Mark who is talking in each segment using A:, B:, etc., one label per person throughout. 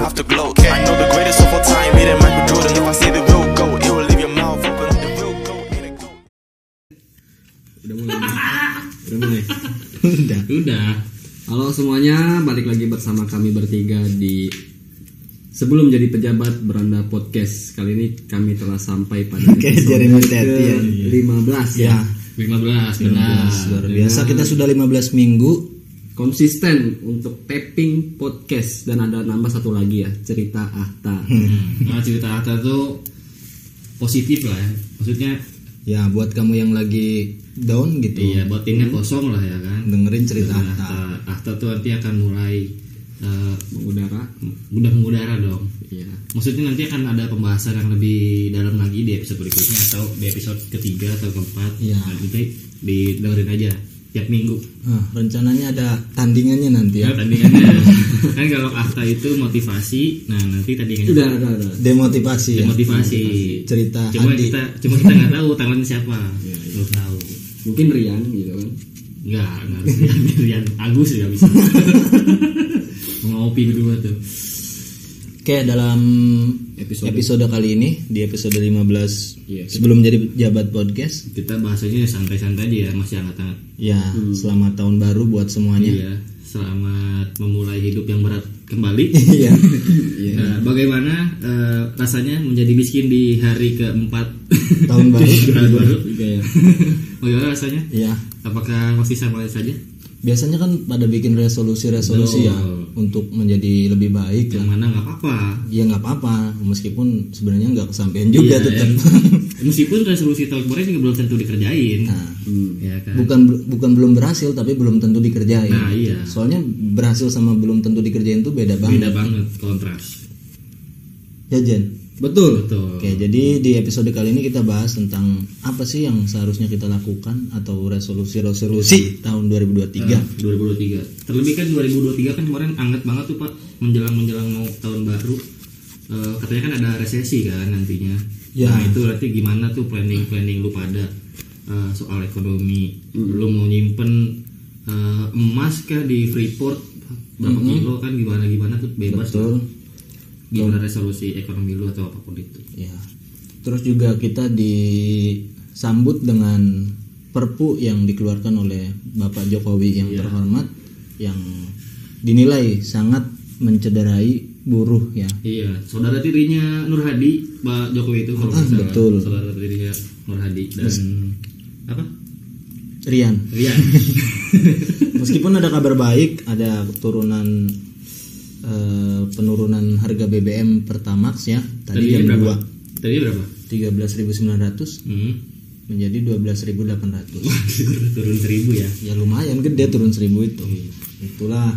A: Okay. I know the greatest of all time, it ain't Michael Jordan. If I say the real goat, it will leave your mouth open. The real goat ain't a goat.
B: Udah mulai. Udah mulai.
C: Iya.
D: Udah.
B: Udah. Halo semuanya, balik lagi bersama kami bertiga di Sebelum jadi pejabat beranda podcast. Kali ini kami telah sampai pada
D: Oke, Jeremy
B: ke
D: Teti, ya.
B: 15 ya.
D: Ya.
C: 15 benar.
D: Luar biasa kita sudah 15 minggu.
B: Konsisten untuk taping podcast dan ada nambah satu lagi ya, cerita Ahta.
D: Hmm.
C: Nah, cerita Atta tuh positif lah ya. Maksudnya
D: Ya, buat kamu yang lagi down gitu.
C: iya batinnya kosong lah ya kan.
D: Dengerin cerita
C: Nah,
D: Atta.
C: Atta, Atta tuh nanti akan mulai eh,
B: Mengudara.
C: mudah mengudara dong.
B: Iya.
C: Maksudnya nanti akan ada pembahasan yang lebih dalam lagi di episode berikutnya atau di episode ketiga atau keempat. Nah,
D: Iya.
C: Nanti didengerin aja tiap minggu.
D: Ah, rencananya ada tandingannya nanti ya.
C: Ya. Tandingannya kan kalau Atta itu motivasi, nah nanti tandingannya
B: Udah, udah, udah.
D: Demotivasi ya.
C: motivasi.
D: Cerita
C: Cuma
D: Adi.
C: kita cuma kita nggak tahu tangan siapa. Belum tahu.
B: Mungkin Rian gitu kan.
C: Enggak, enggak harus Rian, Rian Agus juga bisa. Mau ngopi berdua tuh.
D: Oke, dalam
B: Episode.
D: episode. kali ini di episode 15
B: Iya.
D: sebelum jadi pejabat podcast.
C: Kita bahasanya santai-santai aja ya, masih hangat-hangat.
D: Ya, selamat tahun baru buat semuanya.
C: Hmm. Iya, selamat memulai hidup yang berat kembali.
D: Iya.
C: Nah, bagaimana eh, rasanya menjadi miskin di hari keempat
D: tahun baru.
C: tahun baru? Iya,
B: Juga ya.
C: Bagaimana rasanya?
D: Iya.
C: Apakah masih sama saja?
D: Biasanya kan pada bikin resolusi-resolusi ya untuk menjadi lebih baik lah.
C: Yang mana nggak apa-apa.
D: ya nggak apa-apa meskipun sebenarnya nggak kesampaian juga
C: Iya,
D: tetap
C: yang- Meskipun resolusi tahun kemarin juga belum tentu dikerjain.
D: Nah,
C: ya kan?
D: bukan bukan belum berhasil tapi belum tentu dikerjain
C: Nah, iya.
D: soalnya berhasil sama belum tentu dikerjain tuh beda banget
C: Beda banget kontras.
D: ya Jen
B: Betul.
C: Betul.
D: oke jadi di episode kali ini kita bahas tentang apa sih yang seharusnya kita lakukan atau resolusi resolusi tahun
C: Iya.
D: 2023
C: 2023. Terlebih kan 2023 kan kemarin anget banget tuh Pak menjelang menjelang mau tahun baru. Eh, katanya kan ada resesi kan nantinya.
D: Ya.
C: Nah, itu nanti gimana tuh planning-planning lu pada eh, soal ekonomi. Lu mau nyimpen eh, emas kah di Freeport berapa kilo kan gimana gimana tuh bebas.
D: betul
C: Gimana resolusi ekonomi lu atau apapun itu.
D: ya terus juga kita disambut dengan perpu yang dikeluarkan oleh Bapak Jokowi yang terhormat yang dinilai sangat mencederai buruh ya
C: Iya, saudara tirinya Nur Hadi, Pak Jokowi itu kalau nggak salah.
D: Ah, betul.
C: Saudara tirinya Nur Hadi dan apa?
D: Rian
C: Rian.
D: meskipun ada kabar baik ada turunan eh, penurunan harga BBM Pertamax ya tadi
C: Tadinya
D: yang
C: berapa?
D: kedua
C: Tadi berapa?
D: 13.900
C: Hmm.
D: menjadi 12.800
C: Turun seribu ya.
D: ya lumayan gede turun 1000 itu itulah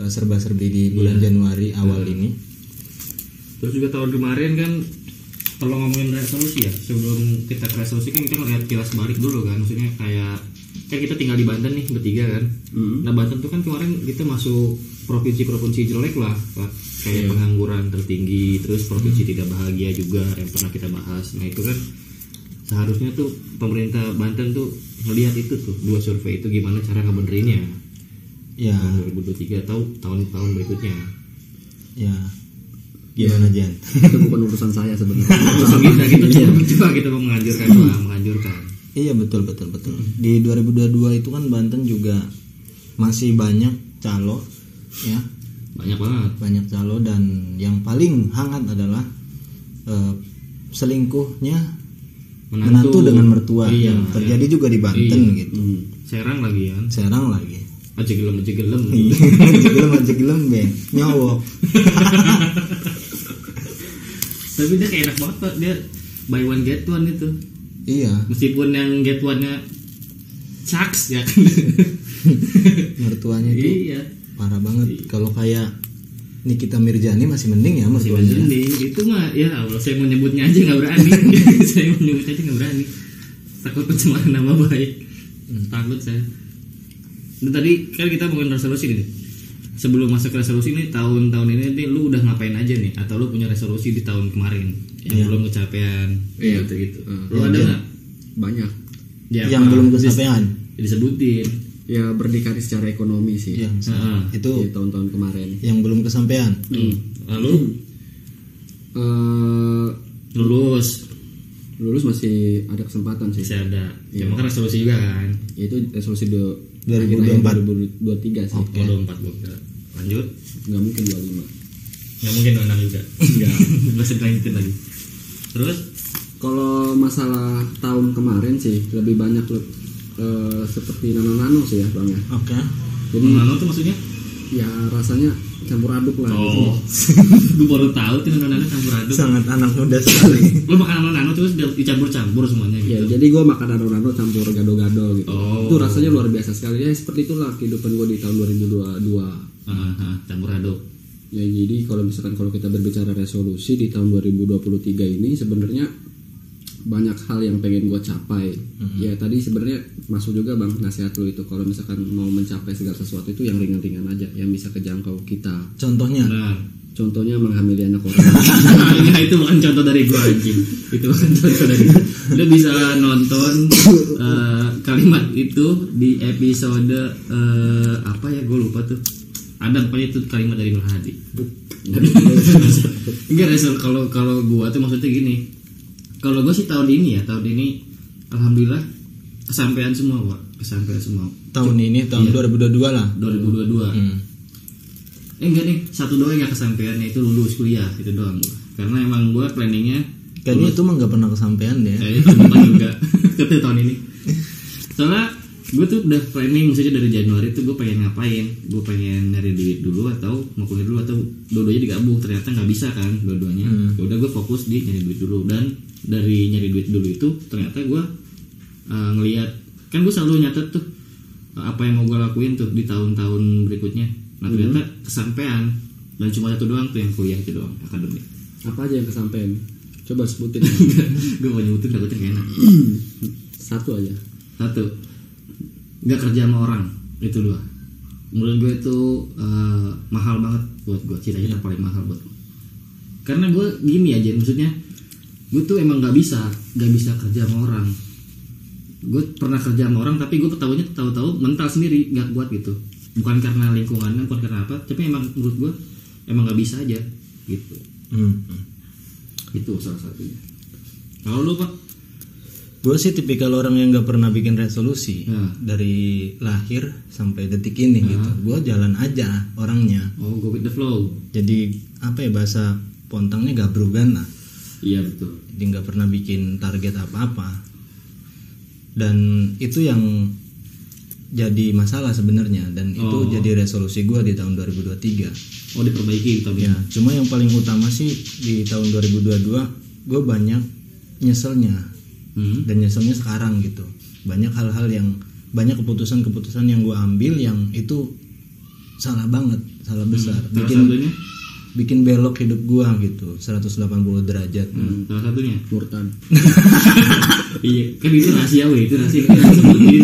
D: eh, serba-serbi di bulan Januari awal ini
C: Terus juga tahun kemarin kan kalau ngomongin resolusi ya, sebelum kita ke resolusi kan kita ngeliat kilas balik dulu kan, maksudnya kayak kan kita tinggal di Banten nih bertiga kan. Nah Banten tuh kan kemarin kita masuk provinsi-provinsi jelek lah, Pak. kayak pengangguran tertinggi, terus provinsi tidak bahagia juga yang pernah kita bahas. Nah itu kan seharusnya tuh pemerintah Banten tuh ngeliat itu tuh dua survei itu gimana cara ngebenerinnya
D: ya
C: tahun 2023 atau tahun-tahun berikutnya.
D: ya gimana Jan
B: Itu bukan urusan saya sebenarnya.
C: Urusan kita kita Gitu, cuma- cuma gitu, kita mau menganjurkan doang, menganjurkan.
D: iya betul betul betul di 2022 itu kan Banten juga masih banyak calo ya
C: banyak banget
D: banyak calo dan yang paling hangat adalah eh, selingkuhnya menantu, dengan mertua
C: iya
D: yang terjadi juga di Banten gitu
B: Hmm.
C: serang lagi kan
D: Serang lagi
C: aja gelem aja gelem
D: Iya. Jegelem aja gelem Bang. nyowok
C: tapi dia kayak enak banget Pak. dia buy one get one itu
D: iya
C: meskipun yang get one nya sucks ya kan
D: mertuanya itu
C: iya
D: parah banget kalau kayak Nikita Mirjani masih mending ya
C: masih
D: mertuanya
B: Iya.
C: mending itu mah ya Allah saya mau nyebutnya aja nggak berani saya mau nyebutnya aja nggak berani takut pencemaran nama baik
B: Hmm.
C: takut saya Itu tadi kan kita mau resolusi nih sebelum masuk ke resolusi nih tahun-tahun ini nih, lu udah ngapain aja nih atau lu punya resolusi di tahun kemarin yang belum kecapean
B: Iya.
C: gitu gitu
B: Hmm.
C: lu ada nggak
B: Banyak.
C: Ya,
D: yang
C: apa?
D: belum kesampaian
C: disebutin
B: Ya berdikari secara
C: Iya.
B: ekonomi sih.
D: yang
C: Heeh.
B: Di
D: itu
B: tahun-tahun Iya, kemarin.
C: Nah,
D: yang belum kesampaian
C: Lalu
B: eh,
C: lulus
B: lulus masih ada kesempatan sih.
C: masih ada
B: Iya.
C: cuma kan resolusi juga kan
B: Yaitu resolusi dua-
D: 2024.
B: akhir-akhir 2023 sih.
C: mau 24 gua kira. lanjut
B: Nggak mungkin 25.
C: nggak mungkin dong, enam juga nggak bisa dilanjutin lagi terus
B: Kalau masalah tahun kemarin sih lebih banyak le- eh, seperti nano-nano sih ya bang ya.
D: Oke.
B: Jadi
C: nano tuh maksudnya
B: ya rasanya campur aduk lah.
C: oh gue baru tahu tuh nano nano campur aduk
D: Sangat anak muda sekali.
C: lu makan nano nano terus dicampur campur semuanya
B: Ya,
C: gitu
B: jadi gue makan nano-nano campur gado-gado gitu.
C: Oh.
B: Itu rasanya luar biasa sekali. Ya seperti itulah kehidupan gue di tahun 2022.
C: Ah, ah, campur aduk
B: Ya jadi kalau misalkan kalau kita berbicara resolusi di tahun 2023 ini sebenarnya banyak hal yang pengen gue capai. Ya tadi sebenarnya masuk juga bang nasihat lu itu kalau misalkan mau mencapai segala sesuatu itu yang ringan-ringan aja yang bisa kejangkau kita.
D: Contohnya
C: nah
B: Contohnya menghamili anak orang.
C: Enggak, Ya, itu bukan contoh dari gua anjing itu bukan contoh dari gua. lu bisa nonton eh, kalimat itu di episode eh, apa ya gua lupa tuh ada pokoknya itu kalimat dari Nur Hadi enggak Resel kalau kalau gua tuh maksudnya gini kalau gua sih tahun ini ya tahun ini alhamdulillah kesampaian semua pak kesampaian semua
D: tahun ini
C: Iya.
D: tahun 2022 lah.
C: 2022
D: Hmm.
C: eh enggak nih satu doang yang kesampaiannya itu lulus kuliah itu doang gua. karena emang gua planningnya
D: Kayaknya itu mah nggak pernah kesampaian deh.
C: Kayaknya tahun depan Iya, juga Tapi tahun ini Soalnya gue tuh udah planning misalnya dari Januari tuh gue pengen ngapain Gue pengen nyari duit dulu atau mau kuliah dulu atau dua-duanya digabung Ternyata nggak bisa kan dua-duanya Ya Udah gue fokus di nyari duit dulu Dan dari nyari duit dulu itu ternyata gue eh, ngelihat Kan gue selalu nyatet tuh eh, apa yang mau gue lakuin tuh di tahun-tahun berikutnya Nah ternyata kesampaian Dan cuma satu doang tuh yang kuliah itu doang akademik
B: Apa aja yang kesampaian? Coba sebutin Bang.
C: Gue mau nyebutin takutnya gak enak
B: satu aja.
C: satu nggak kerja sama orang itu dua menurut gue itu eh, mahal banget buat gue cita-cita paling mahal buat gue karena gue gini aja maksudnya gue tuh emang nggak bisa nggak bisa kerja sama orang gue pernah kerja sama orang tapi gue ketahuannya tahu-tahu mental sendiri nggak kuat gitu bukan karena lingkungannya bukan karena apa tapi emang menurut gue emang nggak bisa aja gitu
D: Hmm.
C: itu salah satunya kalau lu pak
D: Gue sih tipikal orang yang nggak pernah bikin resolusi
C: Ya.
D: dari lahir sampai detik ini gitu. Gue jalan aja orangnya.
C: oh go with the flow
D: Jadi apa ya bahasa pontangnya gabrugan lah.
C: iya betul
D: Jadi nggak pernah bikin target apa-apa. Dan itu yang jadi masalah sebenarnya dan itu
C: Oh.
D: jadi resolusi gue di tahun 2023.
C: oh diperbaiki tapi
D: Ya, cuma yang paling utama sih di tahun 2022 gue banyak nyeselnya
C: Hmm.
D: dan nyeselnya sekarang gitu. Banyak hal-hal yang banyak keputusan-keputusan yang gue ambil yang itu salah banget, salah besar.
C: Hmm. Salah
D: Bikin
C: satunya,
D: bikin belok hidup gue gitu 180 derajat.
C: Hmm, salah satunya.
B: Murtad.
C: iya, kan itu rahasia weh, itu rahasia kita harus sebutin.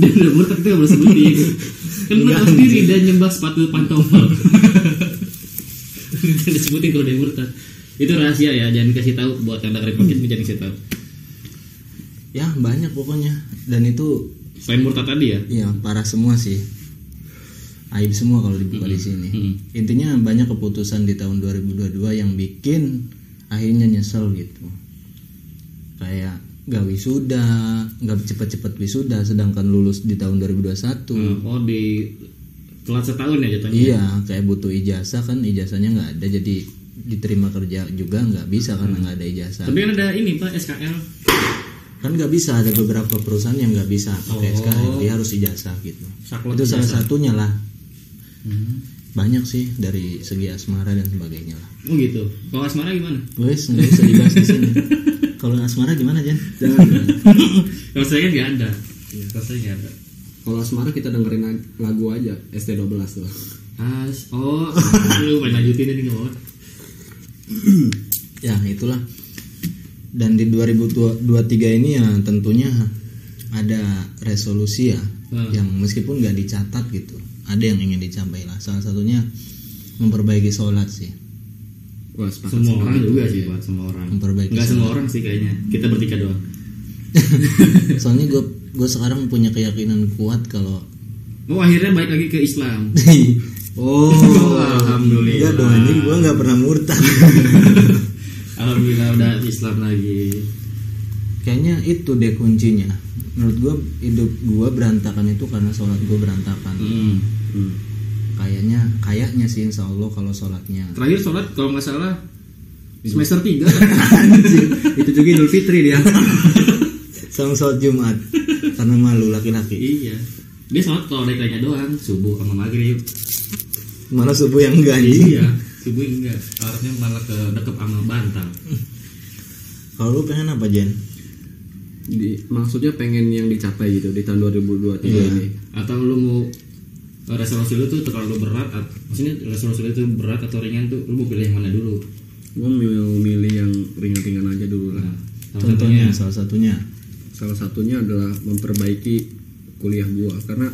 C: Dan udah murtad kita nggak boleh sebutin. Kan lu tahu sendiri dan nyembah sepatu pantofel. Kan disebutin kalau dia murtad. Itu rahasia ya, jangan dikasih tahu buat yang dengerin podcast ini jangan dikasih tahu.
D: Ya banyak pokoknya dan itu
C: Selain murtad tadi ya.
D: ya parah semua sih. Aib semua kalau dibuka
C: Hmm.
D: di sini.
C: Mm-mm.
D: Intinya banyak keputusan di tahun 2022 yang bikin akhirnya nyesel gitu. Kayak gak wisuda, gak cepet-cepet wisuda sedangkan lulus di tahun 2021.
C: Hmm, Oh di telat setahun ya jatuhnya.
D: Iya, kayak butuh ijazah kan ijazahnya nggak ada jadi diterima kerja juga nggak bisa karena nggak ada ijazah.
C: Tapi kan ada ini pak SKL.
D: Kan nggak bisa ada beberapa perusahaan yang nggak bisa pakai
C: Oh.
D: SKL, dia harus ijazah gitu.
C: Saklek
D: Itu salah
C: ijazah.
D: satunya lah.
C: Hmm.
D: Banyak sih dari segi asmara dan sebagainya lah.
C: Oh gitu. Kalau asmara gimana?
D: Wes nggak bisa dibahas di sini. Kalau asmara gimana Jan?
C: Kalau saya kan nggak ada. Kalau saya nggak ada.
B: Kalau asmara kita dengerin lag- lagu aja ST12 tuh.
C: As, oh, lu main lanjutin ini nggak apa-apa.
D: ya itulah. Dan di 2023 ini ya tentunya ada resolusi ya
C: Hmm.
D: yang meskipun nggak dicatat gitu. Ada yang ingin dicapai lah. Salah satunya memperbaiki sholat sih.
B: Wah, sepakat
C: Semua
B: sih.
C: orang juga sih, Pak. Semua orang.
D: Memperbaiki
C: Nggak semua orang sih kayaknya. Kita bertiga doang.
D: Soalnya gue gue sekarang punya keyakinan kuat kalau
C: Oh, akhirnya balik lagi ke Islam.
D: Oh,
C: Alhamdulillah.
D: Iya, Enggak dong anjing, gue nggak pernah murtad.
C: Alhamdulillah udah Islam lagi.
D: kayaknya itu deh kuncinya menurut gue hidup gue berantakan itu karena sholat gue berantakan
C: Hmm.
D: kayaknya kayaknya sih insya Allah kalau sholatnya
C: Terakhir sholat kalau nggak salah semester 3
B: itu juga Idul Fitri dia
D: sama sholat Jumat karena malu laki-laki
C: iya. Dia sholat kalau naik naiknya doang subuh sama maghrib.
D: malah subuh yang enggak anjing.
C: iya. Subuh enggak. Artinya malah ke deket sama Bantal.
D: kalau lu pengen apa Jen
B: Di- maksudnya pengen yang dicapai gitu di tahun 2023 ini
C: Atau lu mau eh, resolusi lu tuh terlalu berat at- maksudnya resolusi lu tuh berat atau ringan tuh lu mau pilih yang mana dulu
B: gue mau milih yang ringan-ringan aja dulu lah
C: nah, salah
D: contohnya
C: satunya-
D: salah satunya
B: salah satunya adalah memperbaiki kuliah gua karena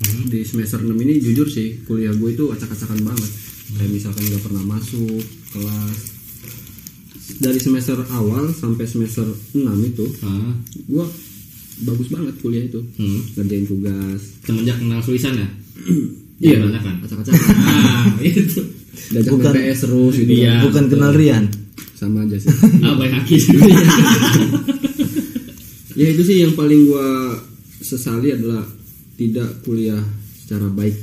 C: Hmm.
B: di semester 6 ini jujur sih kuliah gue itu acak-acakan banget kayak misalkan gak pernah masuk kelas dari semester awal sampai semester 6 itu
C: Ah,
B: gua bagus banget kuliah itu
C: hmm.
B: ngerjain tugas
C: semenjak kenal tulisan ya
B: Iya,
C: banyak kan
B: acak-acakan
C: ah itu
B: diajak
D: Bukan-
B: BPS terus gitu
C: Iya.
B: kan.
D: bukan kenal Rian
B: sama aja sih
C: ah baik kaki juga
B: ya itu sih yang paling gua sesali adalah tidak kuliah secara baik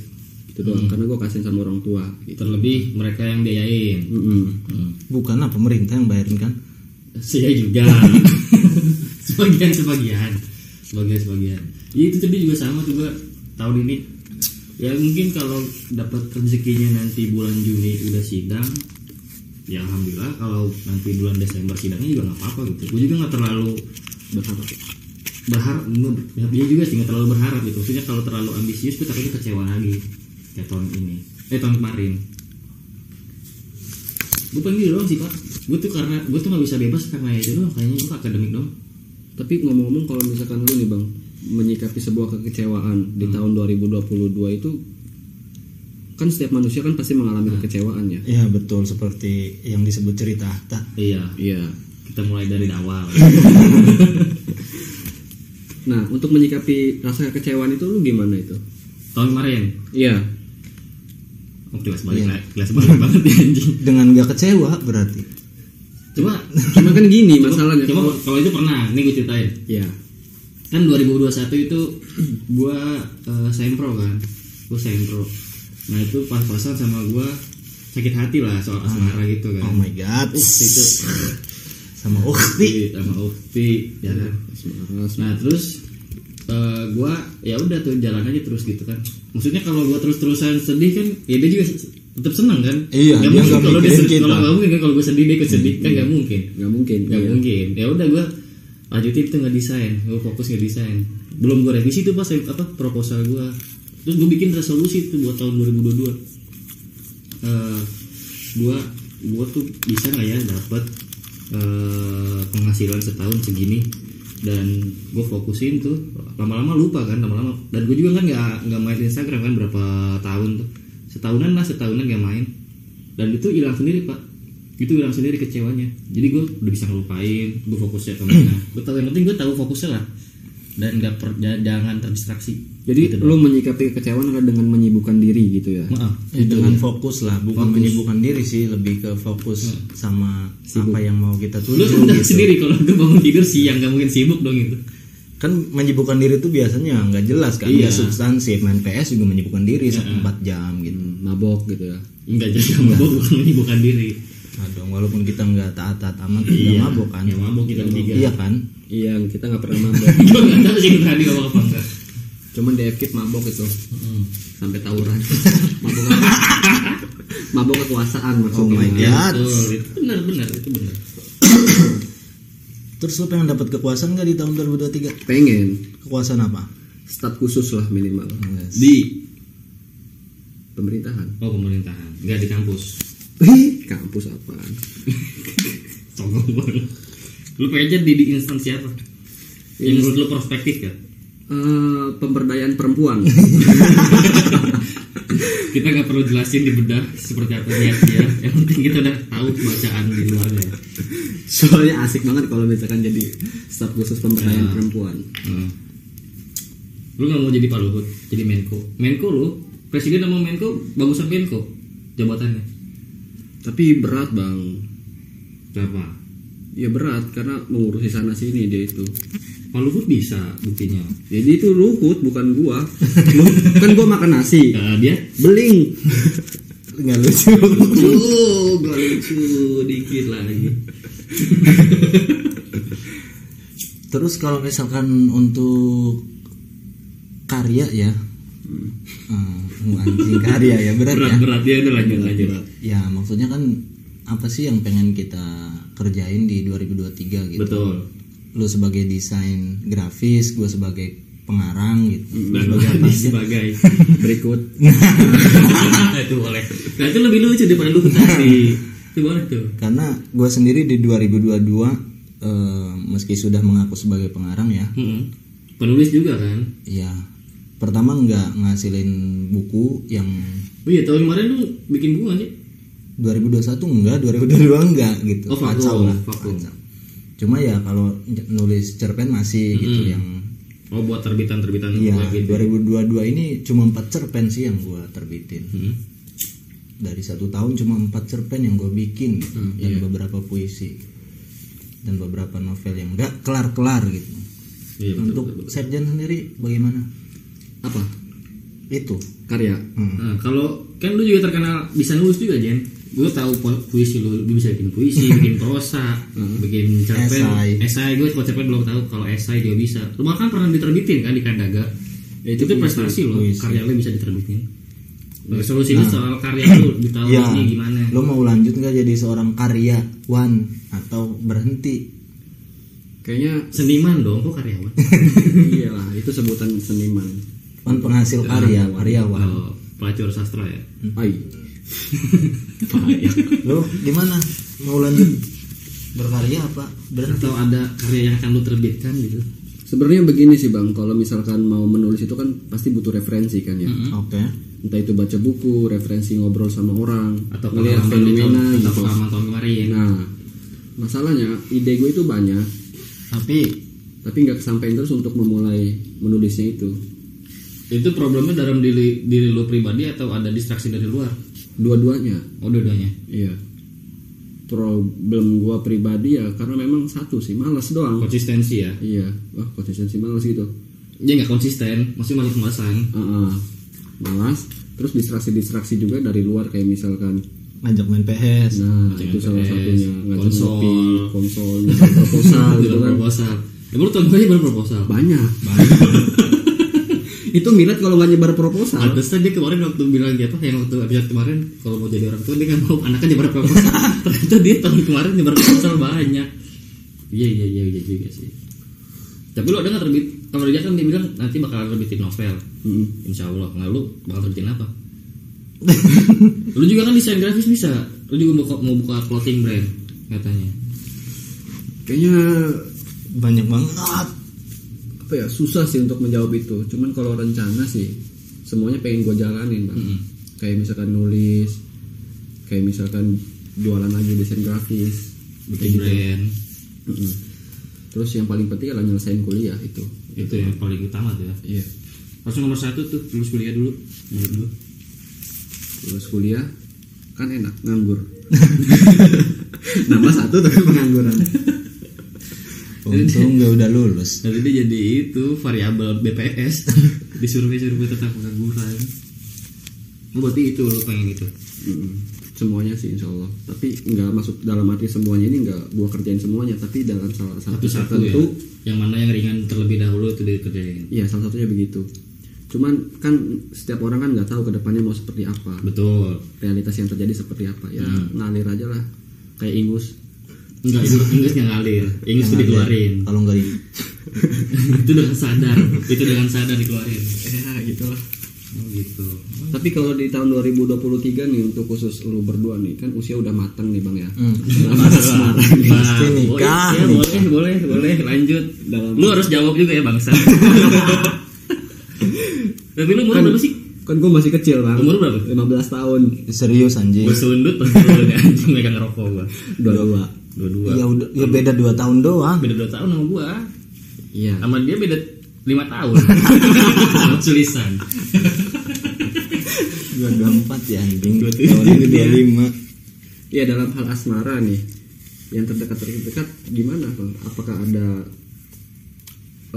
B: gitu doang karena gua kasihan sama orang tua gitu
C: terlebih mereka yang biayain
B: Mm-mm.
C: hmm.
D: bukanlah pemerintah yang bayarin kan
C: saya juga sebagian sebagian sebagian sebagian ya, itu tadi juga sama juga tahun ini ya mungkin kalau dapat rezekinya nanti bulan Juni udah sidang ya alhamdulillah kalau nanti bulan Desember sidangnya juga nggak apa-apa gitu gue juga nggak terlalu
B: berharap
C: berharap ya, dia juga sih nggak terlalu berharap gitu maksudnya kalau terlalu ambisius tuh takutnya kecewa lagi kayak tahun ini eh tahun kemarin gue pengen gitu doang sih pak gue tuh karena gue tuh nggak bisa bebas karena itu doang kayaknya gue akademik dong
B: Tapi ngomong-ngomong kalau misalkan lu nih bang menyikapi sebuah kekecewaan di tahun 2022 itu kan setiap manusia kan pasti mengalami kekecewaan ya.
D: ya betul seperti yang disebut cerita harta
C: iya
B: Iya.
C: kita mulai dari awal
B: Nah untuk menyikapi rasa kekecewaan itu lu gimana itu?
C: tahun kemarin
B: Iya.
C: oh, kelas balik lah kelas balik banget ya anjing
D: dengan gak kecewa berarti
C: coba
B: Cuma kan gini masalahnya.
C: coba
B: kalau-
C: kalau itu pernah nih gue ceritain
B: Iya.
C: kan 2021 itu gua eh, sempro kan gua sempro nah itu pas-pasan sama gua sakit hati lah soal asmara gitu kan
D: oh my god
C: itu
D: sama ukti
C: Ukti sama Ukti
D: Iya,
C: ya kan nah terus eh, gua ya udah tuh jalan aja terus gitu kan maksudnya kalau gua terus-terusan sedih kan ya dia juga tetap seneng kan
D: Iya,
C: Nggak
D: dia
C: mungkin
D: nggak
C: kalau dia
D: mikirin
C: sedih
D: kita. Iya.
C: kalau nggak mungkin kan kalau gua sedih dia ikut sedih kan nggak mungkin
B: Gak mungkin.
C: nggak
B: Iya.
C: mungkin ya udah gue lanjutin itu nggak desain gue fokus nggak desain belum gue revisi tuh pas apa proposal gue terus gue bikin resolusi tuh buat tahun 2022 Eh, gue gue tuh bisa nggak ya dapat eh, penghasilan setahun segini dan gue fokusin tuh lama-lama lupa kan lama-lama dan gue juga kan nggak nggak main Instagram kan berapa tahun tuh setahunan lah setahunan nggak main dan itu hilang sendiri pak itu hilang sendiri kecewanya jadi gue udah bisa ngelupain gue fokusnya ke mana gue tahu yang penting gue tahu fokusnya lah dan nggak per- ja- jangan terdistraksi
B: Jadi
C: Gitu
B: lu
C: doang.
B: menyikapi kekecewaan adalah dengan menyibukkan diri gitu ya.
C: maaf
D: Ya, dengan fokus lah bukan
C: Iya, Fokus. Hmm.
D: menyibukkan diri sih lebih ke fokus sama apa yang mau kita
C: lu
B: Iya,
D: tuju
C: udah
D: gitu.
C: sendiri kalau gue bangun tidur siang nggak mungkin sibuk dong itu
D: kan menyibukkan diri itu biasanya nggak jelas kan
C: Iya.
D: nggak substansif main PS juga menyibukkan diri empat jam gitu
B: Mabok gitu ya.
C: nggak jadi mabok bukan kan menyibukkan diri
D: aduh walaupun kita nggak taat taat amat kita
C: Iya,
D: mabok kan
C: nggak mabok kita bertiga.
D: iya kan
B: Iya kita nggak pernah mabok.
C: gue nggak tahu sih tadi ngomong apa enggak
B: Cuman di FKIP mabok itu Hmm. sampai tawuran. mabok apa? mabok kekuasaan
D: oh
B: maksudnya.
D: my god
C: Iya, Ya, betul itu benar benar itu benar
D: terus lu pengen dapat kekuasaan nggak di tahun 2023
B: Pengen
D: kekuasaan apa
B: stat khusus lah minimal
D: Iya.
C: di
B: pemerintahan.
C: oh pemerintahan nggak di kampus
B: Kampus apaan?
C: songong banget lu pengen jadi di instansi apa
B: Iya.
C: yang menurut lu prospektif kan
B: Eh, pemberdayaan perempuan.
C: kita nggak perlu jelasin di bedah seperti apa niat dia ya. yang penting kita udah tahu bacaan di ya. luarnya
B: Soalnya asik banget kalau misalkan jadi stat khusus pemberdayaan
D: Iya.
C: Ya.
B: perempuan.
C: Hmm. lu nggak mau jadi Pak Luhut jadi Menko Menko lu presiden sama Menko bagusan Menko jabatannya
B: Tapi berat bang.
C: Kenapa?
B: ya berat karena mengurusi sana sini dia itu
C: Pak Luhut bisa buktinya.
B: jadi itu Luhut bukan gua Lu- kan gua makan nasi
C: Ya, dia
B: beling
D: nggak lucu
C: Oh, gak lucu dikit lagi.
D: terus kalau misalkan untuk karya ya eh, anjing karya ya berat ya
C: Hmm. Berat berat ya udah lanjut lanjut.
D: ya maksudnya kan apa sih yang pengen kita kerjain di 2023 gitu
C: Betul.
D: lu sebagai desain grafis gue sebagai pengarang gitu
C: Hmm, Dan
D: sebagai apa
C: ini
D: aja.
C: sebagai
B: berikut
C: Nah, itu boleh. Nah itu lebih lucu daripada Luhut tadi. Itu boleh tuh.
D: karena gue sendiri di 2022 eh, meski sudah mengaku sebagai pengarang ya
C: Mm-mm. Penulis juga kan?
D: ya pertama nggak ngasilin buku yang
C: Oh iya tahun kemarin lu bikin buku nggak sih?
D: 2021 enggak 2022 enggak gitu
C: Oh, vakum,
D: Kacau lah
C: vakum.
D: kacau. cuma ya kalau nj- nulis cerpen masih gitu yang
C: Oh buat terbitan terbitan
D: Iya,
C: buat gitu.
D: 2022 ini cuma empat cerpen sih yang gue terbitin.
C: Mm.
D: Dari satu tahun cuma empat cerpen yang gue bikin gitu,
C: Mm,
D: dan
C: iya.
D: beberapa puisi dan beberapa novel yang nggak kelar-kelar gitu.
C: Iya betul.
D: Untuk Serjan sendiri bagaimana?
B: apa
D: Itu. Hmm.
B: karya
C: Nah, kalau kan lu juga terkenal bisa nulis juga Jen. Gue tahu po- puisi lu, lu bisa bikin puisi, bikin prosa, bikin cerpen,
D: Esai.
C: esai. Gue kalau cerpen belum tahu kalau esai dia bisa. Lu bahkan pernah diterbitin kan di Kandaga. Ya, itu, tuh prestasi lo,
D: puisi.
C: karya lu bisa diterbitin. Resolusi lu soal karya lu di tahun
D: Ya,
C: ini gimana?
D: Lo mau lanjut nggak jadi seorang karyawan atau berhenti?
B: kayaknya
C: Seniman dong, kok karyawan.
B: iyalah itu sebutan seniman
D: Kan penghasil karya, karyawan.
C: Oh, pelacur sastra ya.
B: Ai.
D: Lo gimana? Mau lanjut berkarya apa? Berhenti?
C: Atau ada karya yang akan lu terbitkan gitu.
B: sebenarnya begini sih bang kalau misalkan mau menulis itu kan pasti butuh referensi kan ya
D: Oke.
B: entah itu baca buku referensi ngobrol sama orang
C: Atau
B: melihat
C: pengalaman di tahun,
B: fenomena
C: atau
B: gitu
C: pengalaman tahun kemarin.
B: nah masalahnya ide gue itu banyak
D: Tapi
B: tapi nggak kesampaian terus untuk memulai menulisnya itu
C: Itu problemnya dalam diri, diri lu pribadi atau ada distraksi dari luar?
B: dua-duanya
C: Oh, dua-duanya.
B: iya problem gua pribadi ya karena memang satu sih malas doang
C: Konsistensi ya.
B: iya wah konsistensi malas gitu
C: Dia nggak konsisten, masih malas-malasan.
B: Heeh. malas terus distraksi-distraksi juga dari luar kayak misalkan
D: ngajak main PS
B: nah itu salah
C: PS,
B: satunya ngajak
C: konsol.
B: ngopi konsol ngajak proposal gitu
C: Dalam
B: kan
C: proposal. Ya, baru tahun kemarin baru proposal.
B: banyak itu milat kalau nggak nyebar proposal
C: Pantesan dia kemarin waktu bilang dia apa yang waktu episode kemarin kalau mau jadi orang tua dia nggak mau anaknya nyebar proposal. Ternyata dia tahun kemarin nyebar proposal banyak. Iya iya iya iya juga sih. Tapi lo ada nggak terbit? Kalau dia kan dia bilang nanti bakal terbitin novel.
B: Mm.
C: Insya Allah. Nah lu bakal terbitin apa? lu juga kan desain grafis bisa. Lu juga mau mau buka clothing brand katanya.
B: kayaknya
D: banyak banget
B: apa ya susah sih untuk menjawab itu cuman kalau rencana sih semuanya pengen gue jalanin bang
C: Mm-mm.
B: kayak misalkan nulis kayak misalkan jualan lagi desain grafis gitu.
C: Bikin brand
B: Mm-mm. terus yang paling penting adalah nyelesain kuliah itu
C: itu yang paling utama tuh ya.
B: iya
C: Harus nomor satu tuh lulus kuliah Iya, dulu. Menurut lu?
B: lulus kuliah kan enak nganggur nambah satu tapi pengangguran
D: untung gue udah lulus
C: Nanti dia jadi itu variabel BPS di survei-survei tentang pengangguran. Oh, berarti itu lo pengen itu.
B: Mm-mm. semuanya sih insya Allah tapi nggak masuk dalam arti semuanya ini nggak gua kerjain semuanya tapi dalam salah satu
C: Satu-satu ya.
B: tertentu
C: Yang mana yang ringan terlebih dahulu itu dikerjain.
B: Iya salah satunya begitu. Cuman kan setiap orang kan nggak tahu kedepannya mau seperti apa,
C: Betul.
B: realitas yang terjadi seperti apa. Ya ngalir aja lah, kayak ingus.
C: Enggak, Inggris, Inggris yang ngalir. Inggris itu dikeluarin.
D: kalau nggak di
C: itu dengan sadar. itu dengan sadar dikeluarin.
B: Ya gitulah.
C: Oh gitu.
B: Tapi kalau di tahun 2023 nih untuk khusus lu berdua nih kan usia udah matang nih bang ya. Dalam asmara.
C: Nah,
D: Pasti
C: boleh,
D: nikah,
C: ya,
D: nikah.
C: boleh, boleh, boleh, lanjut.
B: Dalam-
C: Lu harus jawab juga ya bangsa. Tapi lu umur berapa sih?
B: Kan gue masih kecil bang.
C: Umur berapa?
B: 15 tahun.
D: serius
B: Iya.
D: anjing
C: Gue sundut pas dulu nih anjing megang rokok gua.
B: Dua dua.
C: Dua-dua.
D: ya udah ya beda dua tahun doang
C: Beda dua tahun sama gua.
B: Iya.
C: Sama dia beda lima tahun. Tulisan.
D: dua dua empat ya anjing tahun ini dua lima
B: Iya dalam hal asmara nih. yang terdekat terdekat gimana Pak? apakah ada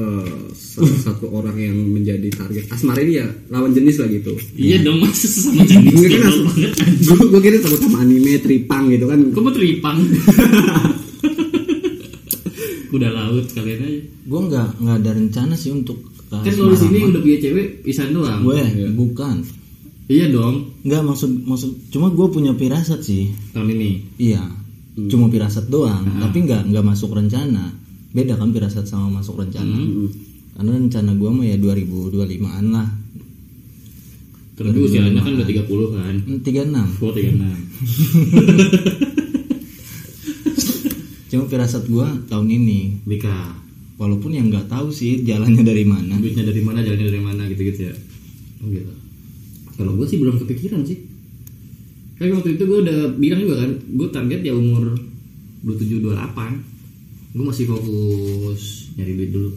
B: eh, salah satu orang yang menjadi target asmara ini ya lawan jenis lah gitu
C: Iya dong masa sesama jenis
B: Gue
C: Gila Iya, banget
B: gue gue kira takut sama anime tripang gitu kan
C: Kok mau teripang? Kuda laut kalian aja
D: gue nggak nggak ada rencana sih untuk ke
C: Kan kalau di sini
D: asmara.
C: udah punya cewek Isan
D: Ah,
C: doang
D: gue bukan
C: Iya dong
D: nggak maksud maksud cuma gue punya pirasat sih
C: Tahun ini
D: iya
C: Hmm.
D: cuma pirasat doang
C: Ah.
D: tapi nggak nggak masuk rencana beda kan pirasat sama masuk rencana
C: Hmm,
D: karena rencana gue mah ya 2025an lah
C: Terus usianya kan udah 30 kan
D: Hmm, 36
C: Gue 36
D: cuma pirasat gue tahun ini
C: Bika
D: walaupun yang nggak tahu sih jalannya dari mana
C: Duitnya dari mana, jalannya dari mana gitu-gitu ya Oh gitu Kalau gue sih belum kepikiran sih Kayak waktu itu gue udah bilang juga kan Gue target ya umur 27-28 Gue masih fokus nyari duit dulu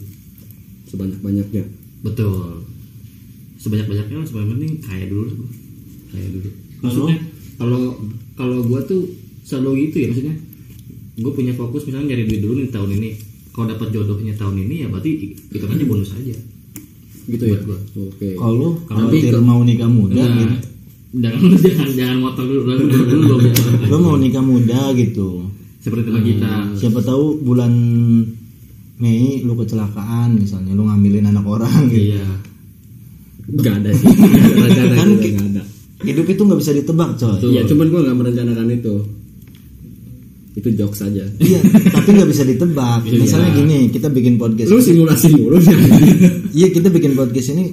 B: sebanyak banyaknya
C: Betul. Sebanyak-banyaknya lah sebanyak penting kaya dulu lah gua. Kaya dulu. Maksudnya kalau kalau gua tuh selalu gitu ya maksudnya. Gue punya fokus misalnya nyari duit dulu nih tahun ini. Kalau dapat jodohnya tahun ini ya berarti itu aja bonus aja.
B: gitu ya
C: Buat gua.
B: oke
D: kalau
C: Kalau
D: kalau khawatir mau nikah muda gitu
C: Nah, jangan jangan jangan motong dulu dulu dulu dulu, dulu.
D: lo mau nikah muda gitu
C: Seperti teman kita.
D: siapa tahu bulan Mei lu kecelakaan misalnya lu ngambilin anak orang gitu
C: Iya.
B: nggak ada sih Nggak ada rencana
D: Kan
B: gitu,
D: ki-
B: nggak ada
D: hidup itu nggak bisa ditebak coy
B: iya cuman gue nggak merencanakan itu itu jokes saja
D: iya tapi nggak bisa ditebak misalnya gini kita bikin podcast
B: Iya. lu simulasi mulu ya
D: iya kita bikin podcast ini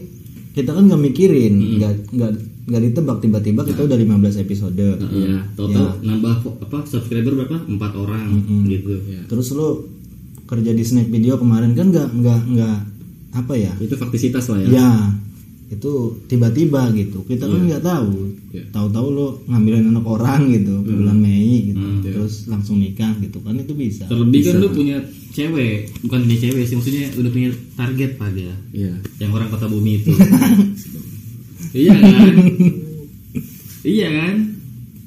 D: kita kan nggak mikirin nggak nggak nggak ditebak tiba-tiba kita udah 15 episode
C: Iya, total nambah fo- apa subscriber berapa? Empat orang gitu.
D: terus lu kerja di snack video kemarin kan nggak nggak nggak apa ya
B: itu faktisitas lah ya
D: ya itu tiba-tiba gitu kita kan nggak tahu
B: Iya.
D: tahu-tahu lo ngambilin anak orang gitu bulan Mei gitu
B: Iya.
D: terus langsung nikah gitu kan itu bisa
C: Terlebih kan lu punya cewek, bukan punya cewek sih, maksudnya udah punya target pada
B: iya
C: yang orang kota bumi itu. iya kan? iya kan?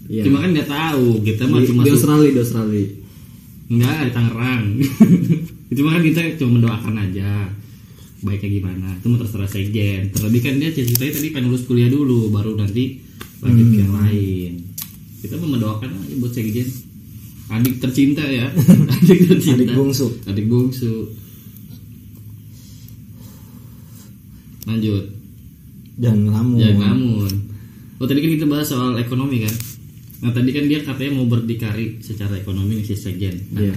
B: Iya.
C: Cuma kan nggak tahu, kita mah
B: di,
C: cuma Iya.
B: di
C: su-
B: Australia di Australia
C: nggak di Tangerang. cuma kan kita cuma mendoakan aja baiknya gimana itu mah terserah sekjen terlebih kan dia ceritanya tadi pengen lulus kuliah dulu baru nanti lanjut ke yang lain kita mah mendoakan aja buat sekjen adik tercinta ya adik tercinta
D: adik bungsu
C: adik bungsu lanjut
D: dan lamun
C: ya namun oh tadi kan kita bahas soal ekonomi kan nah tadi kan dia katanya mau berdikari secara ekonomi nih si sekjen nah,
B: Iya.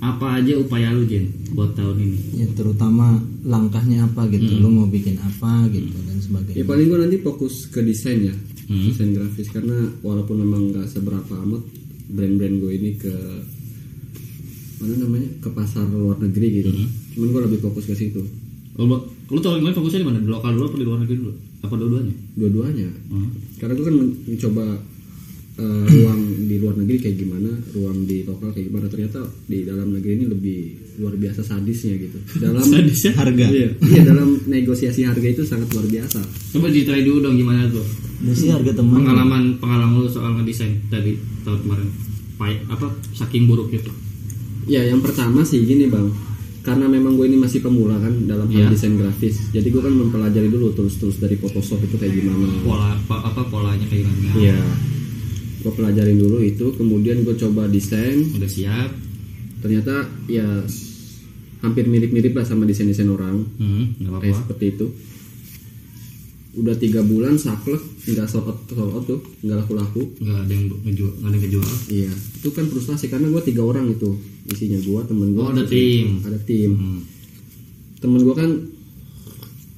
C: apa aja upaya lu Jen buat tahun ini
D: ya terutama langkahnya apa gitu lo mau bikin apa gitu dan
B: Ya
D: sebagainya
B: paling gue nanti fokus ke desain ya,
C: Hmm.
B: desain grafis karena walaupun memang nggak seberapa amat brand-brand gue ini ke mana namanya ke pasar luar negeri gitu.
C: Mm-hmm.
B: Cuman gue lebih fokus ke situ.
C: lu, Oh, lu tahun kemarin fokusnya di mana di lokal dulu apa di luar negeri dulu apa dua-duanya
B: Dua-duanya.
C: Hmm.
B: Karena gue kan men- mencoba eh, ruang di luar negeri kayak gimana, ruang di lokal kayak gimana. Ternyata di dalam negeri ini lebih luar biasa sadisnya gitu. Dalam
C: Sadisnya?
D: harga
B: Iya, iya dalam negosiasi harga itu sangat luar biasa.
C: coba ceritain dulu dong gimana tuh
D: Udah sih harga
C: Hmm.
D: teman
C: pengalaman pengalaman lu soal ngedesain tadi tahun kemarin Pahit- apa saking buruknya tuh
B: Ya yang pertama sih gini bang Karena memang gue ini masih pemula kan dalam hal
C: Iya.
B: desain grafis Jadi gue kan mempelajari dulu tools-tools dari Photoshop itu kayak gimana
C: pola apa, apa polanya kayak gimana
B: Iya Gue pelajarin dulu itu Kemudian gue coba desain
C: udah siap
B: Ternyata ya hampir mirip-mirip lah sama desain-desain orang
C: hmm,
B: Kayak
C: nggak apa-apa
B: seperti itu Udah tiga bulan saklek nggak sold out, sold out tuh nggak laku-laku
C: nggak ada yang ngejual nggak ada yang kejual
B: Iya, itu kan frustasi karena gue tiga orang itu isinya gue temen gue
C: Oh, ada tim.
B: ada tim
C: hmm.
B: temen gue kan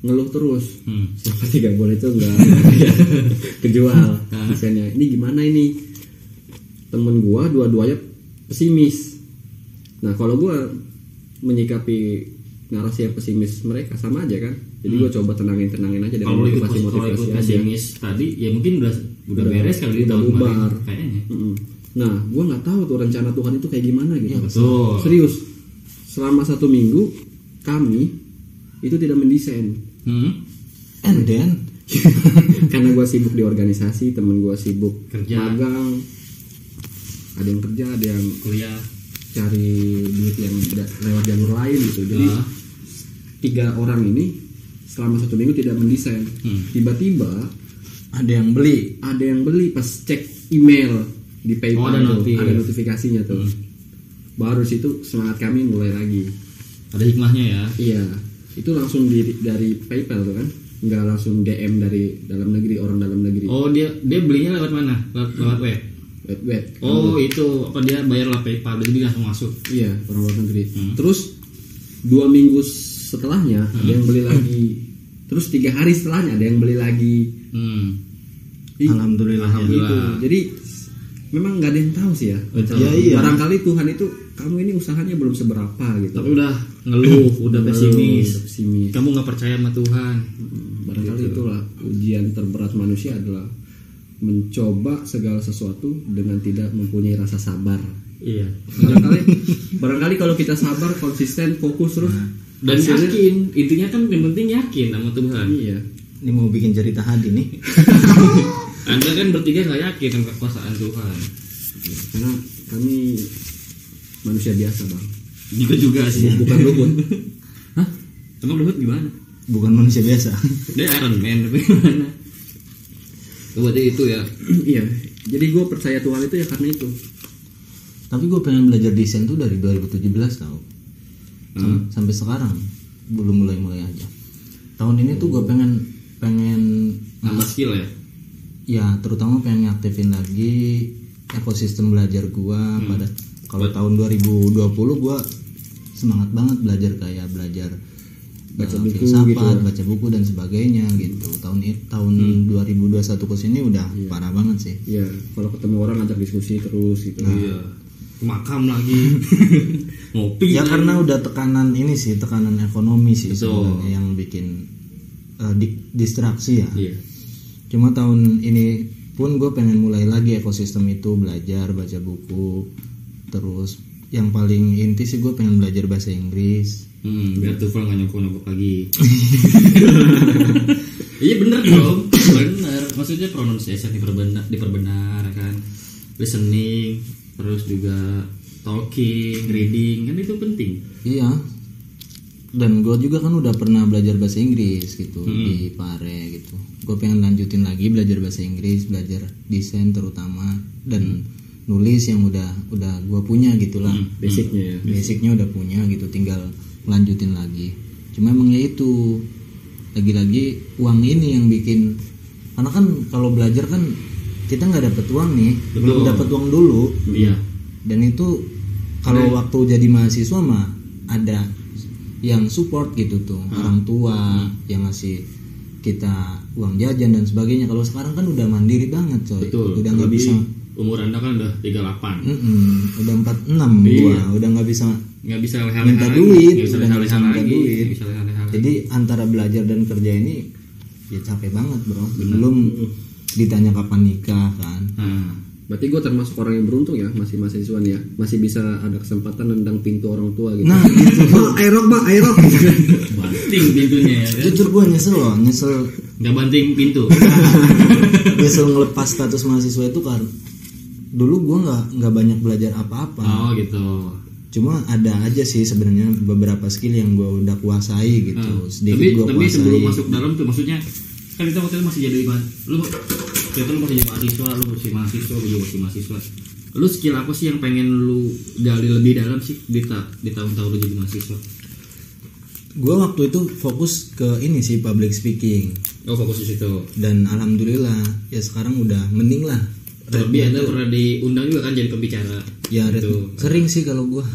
B: ngeluh terus
C: Hmm.
B: sampai tiga bulan itu enggak kejual
C: Ah.
B: desainnya ini gimana ini temen gue dua-duanya pesimis nah kalau gue menyikapi narasi yang pesimis mereka sama aja kan jadi gue coba tenangin tenangin aja dengan
C: Hmm. kalau ikut
B: motivasi
C: kalau ikut
B: motivasi aja
C: pesimis tadi ya mungkin udah udah beres kali di
B: udah
C: tahun kemarin
B: bubar.
C: kayaknya
B: Mm-mm. nah gue nggak tahu tuh rencana Tuhan itu kayak gimana gitu
C: Iya, betul
B: serius selama satu minggu kami itu tidak mendesain
C: hmm?
D: and then
B: karena gue sibuk di organisasi temen gue sibuk
C: Kerja.
B: magang ada yang kerja ada yang
C: kuliah
B: cari duit yang da- lewat jalur lain gitu jadi
C: Ah.
B: tiga orang ini selama satu minggu tidak mendesain
C: Hmm.
B: tiba-tiba
D: ada yang beli
B: ada yang beli pas cek email di PayPal
C: Oh, ada
B: tuh,
C: notif.
B: ada notifikasinya tuh
C: Hmm.
B: baru situ semangat kami mulai lagi
C: ada hikmahnya ya
B: iya itu langsung di- dari PayPal tuh kan nggak langsung DM dari dalam negeri orang dalam negeri
C: oh dia dia belinya lewat mana lewat, lewat web
B: web web
C: oh itu apa dia bayar lah PayPal jadi dia langsung masuk
B: iya orang luar negeri
C: Hmm.
B: terus dua minggu setelahnya ada yang beli lagi terus tiga hari setelahnya ada yang beli lagi
C: hmm.
B: Ih,
D: Alhamdulillah, ya.
B: gitu.
C: Alhamdulillah.
B: jadi memang nggak ada yang tahu sih ya
C: Betul.
D: Ya, iya.
B: barangkali Tuhan itu kamu ini usahanya belum seberapa gitu
C: tapi udah ngeluh udah
B: Ngeluh, udah
C: pesimis
B: pesimis.
C: kamu nggak percaya sama Tuhan
B: Hmm, barangkali
C: Gitu.
B: itulah ujian terberat manusia adalah mencoba segala sesuatu dengan tidak mempunyai rasa sabar
C: iya
B: barangkali barangkali kalau kita sabar konsisten fokus terus
C: Nah. dan
B: hasilnya-
C: yakin intinya kan yang penting yakin sama Tuhan
B: iya
D: ini mau bikin cerita hadi nih
C: anda kan bertiga nggak yakin sama kekuasaan Tuhan
B: karena kami manusia biasa bang
C: juga Gitu juga sih
B: bukan luput
C: Hah? Emang Luhut gimana?
D: bukan manusia biasa
C: Dia Iron Man tapi gimana? Itu Berarti itu ya.
B: iya jadi gue percaya Tuhan itu ya karena itu
D: tapi gue pengen belajar desain tuh dari 2017 tau Sam- sampai sekarang belum mulai mulai aja tahun ini tuh gue pengen pengen
C: Nambah skill ya.
D: ya terutama pengen ngaktifin lagi ekosistem belajar gua
B: Hmm.
D: pada kalau tahun 2020 gua semangat banget belajar kayak belajar
B: Baca
D: eh,
B: buku
D: filsafat,
B: gitu ya. Hmm.
D: baca buku dan sebagainya gitu. Tahun i- tahun 2021 ke sini udah
B: Iya.
D: parah banget sih.
B: ya kalau ketemu orang ngajak diskusi terus gitu
C: Iya. Ke makam lagi. Ngopi.
B: Iya.
D: Ya
C: lagi.
D: karena udah tekanan ini sih, tekanan ekonomi sih
C: Betul.
D: sebenarnya yang bikin eh, di- distraksi ya.
C: Iya.
D: Cuma tahun ini pun gue pengen mulai lagi ekosistem itu belajar baca buku terus yang paling inti sih gue pengen belajar bahasa Inggris.
C: Hmm, biar Tufel nggak nyokok-nyokok lagi. iya bener dong, bener. Maksudnya pronunciation diperbenar, diperbenar kan. Listening, terus juga talking, reading kan itu penting.
D: Iya. Dan gue juga kan udah pernah belajar bahasa Inggris gitu
B: Hmm.
D: di Pare gitu. Gue pengen lanjutin lagi belajar bahasa Inggris, belajar desain terutama
B: Hmm.
D: dan nulis yang udah udah gue punya gitulah.
B: basicnya ya
D: basicnya udah punya gitu tinggal lanjutin lagi cuma emang ya itu lagi-lagi uang ini yang bikin karena kan kalau belajar kan kita nggak dapet uang nih belum
C: Betul.
D: dapet uang dulu
C: Iya.
D: dan itu kalau waktu jadi mahasiswa mah ada yang support gitu tuh orang tua yang ngasih kita uang jajan dan sebagainya kalau sekarang kan udah mandiri banget coy
C: Betul.
D: udah nggak
C: Terlebih
D: bisa
C: Umur Anda kan udah 38.
D: Mm-mm, udah 46 gua udah nggak bisa
C: nggak bisa leha-leha
D: minta
C: lagi,
D: duit
C: nggak bisa
D: udah nggak
C: leha-leha
D: bisa minta
C: lagi,
D: duit
C: nggak bisa leha-leha lagi.
D: jadi antara belajar dan kerja ini ya capek banget bro belum ditanya kapan nikah kan
C: Nah,
B: berarti gue termasuk orang yang beruntung ya masih mahasiswa nih ya masih bisa ada kesempatan nendang pintu orang tua gitu
D: nah gitu
B: Bang, aerok bang aerok
C: banting pintunya ya kan?
D: jujur gue nyesel loh nyesel
C: nggak banting pintu
D: nyesel ngelepas status mahasiswa itu kan dulu gue nggak nggak banyak belajar apa-apa
C: oh gitu
D: cuma ada aja sih sebenarnya beberapa skill yang gue udah kuasai gitu
C: Nah, tapi
D: sedikit gue
C: tapi
D: kuasai
C: sebelum masuk dalam tuh maksudnya kan kita waktu itu masih jadi ma- lu kita lu masih jadi mahasiswa lu masih mahasiswa lu juga masih mahasiswa lu skill apa sih yang pengen lu gali lebih dalam sih di ta- di tahun-tahun lu jadi mahasiswa
D: gue waktu itu fokus ke ini sih public speaking
C: oh fokus di situ
D: dan alhamdulillah ya sekarang udah mending lah
C: terlebih anda pernah diundang juga kan jadi pembicara
D: ya red
C: Gitu.
D: sering sih kalau gua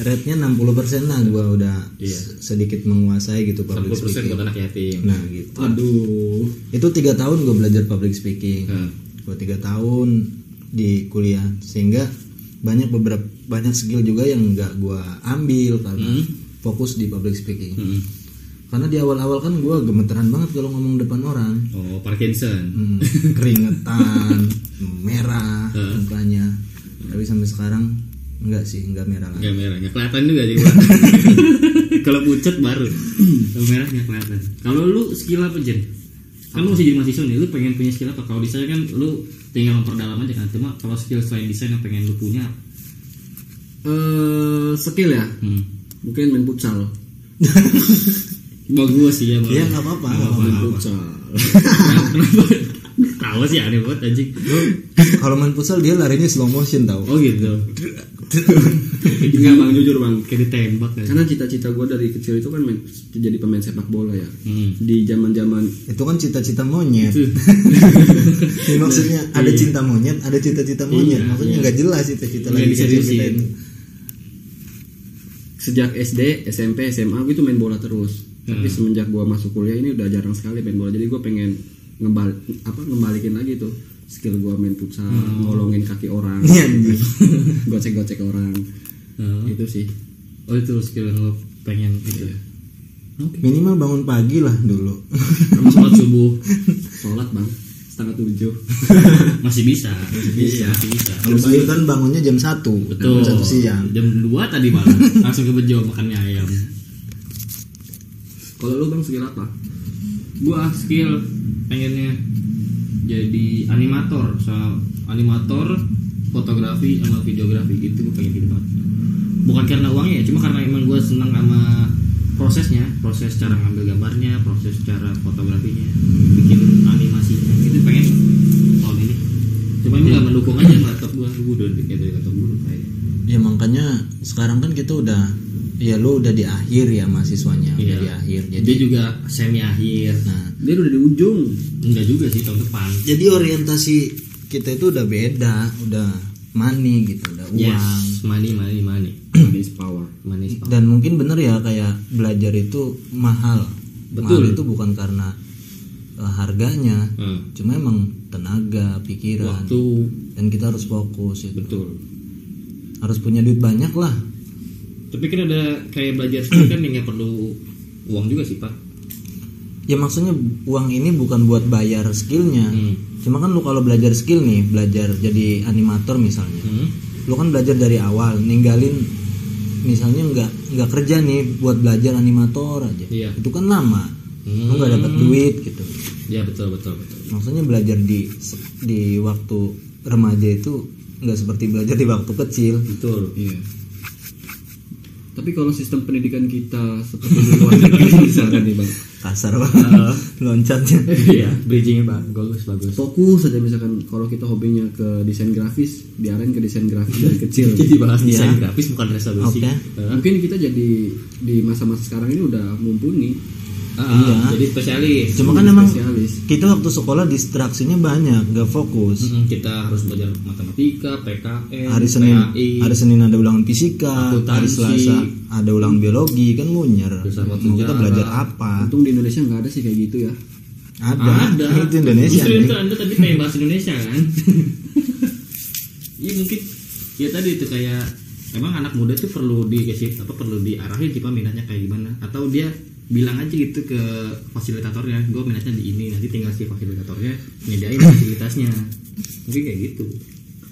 D: rednya 60% lah gua udah
C: Iya.
D: s- sedikit menguasai gitu public
C: 10%
D: speaking
C: buat anak yatim
D: nah gitu
B: aduh
D: itu tiga tahun gua belajar public speaking
C: Nah,
D: gua tiga tahun di kuliah sehingga banyak beberapa banyak skill juga yang nggak gua ambil karena fokus di public speaking
C: mm.
D: karena di awal-awal kan gua gemeteran banget kalau ngomong depan orang
C: oh Parkinson
D: Hmm, keringetan merah mukanya tapi sampai sekarang enggak sih enggak merah lagi
C: Gak merah, nggak kelihatan juga jadi Pak. Kalau pucet baru. Kalau merah nggak kelihatan. Kalau lu skill apa Jen? kan lu masih jadi mahasiswa nih lu pengen punya skill apa kalau desain kan lu tinggal memperdalam aja kan cuma kalau skill selain desain yang pengen lu punya apa?
B: Eh, skill ya
C: hmm.
B: mungkin main futsal
C: bagus sih ya bagus.
D: Iya nggak apa-apa. nggak apa-apa.
B: main futsal
C: kenapa tahu sih aneh banget anjing
D: Kalau main futsal dia larinya slow motion tau.
C: oh gitu enggak bang jujur bang kayak ditembak kan
B: karena cita-cita gue dari kecil itu kan main, jadi pemain sepak bola ya
C: hmm.
B: di zaman-zaman
D: Itu kan cita-cita monyet. Ini maksudnya ada cinta monyet, ada cita-cita monyet.
C: Iya,
D: maksudnya
C: iya.
D: nggak jelas cita-cita
C: Nggak
D: lagi gitu.
C: bisa
D: cita-citain.
C: diusin.
B: sejak SD, SMP, SMA gue itu gitu main bola terus. Tapi
C: Hmm.
B: semenjak gua masuk kuliah ini udah jarang sekali main bola. Jadi gue pengen ngebal apa ngembalikin lagi tuh skill gua main futsal, ngolongin kaki orang,
D: Hmm. Iya, anjing.
B: gocek-gocek orang.
C: Nah,
B: Itu sih.
C: oh itu skill yang lu pengen gitu
D: Minimal bangun pagi lah dulu.
C: sama sholat subuh
B: Sholat bang setengah tujuh.
C: masih bisa masih bisa masih bisa
D: Kalau saya kan bangunnya jam 1
C: betul Iya.
D: jam 1 siang.
C: jam 2 tadi malam langsung ke bejo makannya ayam
B: Kalau lu bang skill apa?
C: gua skill pengennya jadi animator so animator fotografi sama videografi itu gua pengen jadi banget bukan karena uangnya ya cuma karena emang gua senang sama prosesnya proses cara ngambil gambarnya proses cara fotografinya bikin animasinya itu pengen tahun ini cuma ini nggak mendukung aja sama laptop gua gua udah kayak dari laptop dulu kayak
D: Ya makanya sekarang kan kita udah ya lu udah di akhir ya mahasiswanya udah di akhir. Jadi
C: dia Iya. juga semi akhir
D: nah
B: Dia udah di ujung.
C: enggak juga sih tahun depan
D: jadi orientasi kita itu udah beda, udah money gitu, udah uang.
C: yes money money money
B: This power.
C: money is power.
D: Dan mungkin bener ya kayak belajar itu mahal.
C: Betul.
D: Mahal itu bukan karena eh, harganya,
C: Hmm.
D: cuma emang tenaga, pikiran.
C: waktu
D: Dan kita harus fokus itu.
C: betul
D: Harus punya duit banyak lah.
C: Tapi kan ada kayak belajar skill kan yang nggak perlu uang juga sih pak.
D: Ya maksudnya uang ini bukan buat bayar skillnya.
C: Hmm.
D: Cuma kan lu kalau belajar skill nih, belajar jadi animator misalnya.
C: Hmm.
D: lu kan belajar dari awal ninggalin misalnya nggak nggak kerja nih buat belajar animator aja
C: Iya.
D: itu kan lama lu nggak dapat
C: Hmm.
D: duit gitu
C: Ya betul betul betul.
D: maksudnya belajar di di waktu remaja itu nggak seperti belajar di waktu kecil
C: Betul.
B: Iya. Tapi kalau sistem pendidikan kita seperti di luar negeri misalkan nih bang,
D: kasar banget loncatnya
C: Iya, bridgingnya pak bagus bagus.
D: Oh,
B: fokus aja misalkan kalau kita hobinya ke desain grafis diarahin ke desain grafis dari kecil gitu.
C: bahas
D: Iya.
C: desain grafis bukan Eh, restorasi.
D: Oke.
C: Heeh.
B: Nah, mungkin kita jadi di masa-masa sekarang ini udah mumpuni
C: Heeh,
D: Iya.
C: eh, Jadi spesialis.
D: cuma kan emang
B: spesialis
D: kita waktu sekolah distraksinya banyak nggak fokus
C: Mm-mm, kita harus belajar matematika, PKN,
D: hari senin
C: PAI,
D: hari senin ada ulangan fisika hari
C: Akuntansi.
D: selasa ada ulangan biologi kan munyer
C: Filsafat
D: mau kita
C: sejarah.
D: belajar apa
B: untung di Indonesia nggak ada sih kayak gitu ya
D: ada,
C: ada.
D: Ah, itu Indonesia
C: Justru
D: nih.
C: itu anda tadi pengen bahas Indonesia kan? Iya mungkin ya tadi itu kayak emang anak muda tuh perlu dikasih apa perlu diarahin sih Pak, minatnya kayak gimana atau dia bilang aja gitu ke fasilitatornya gue minatnya di ini nanti tinggal si fasilitatornya nyediain fasilitasnya mungkin kayak gitu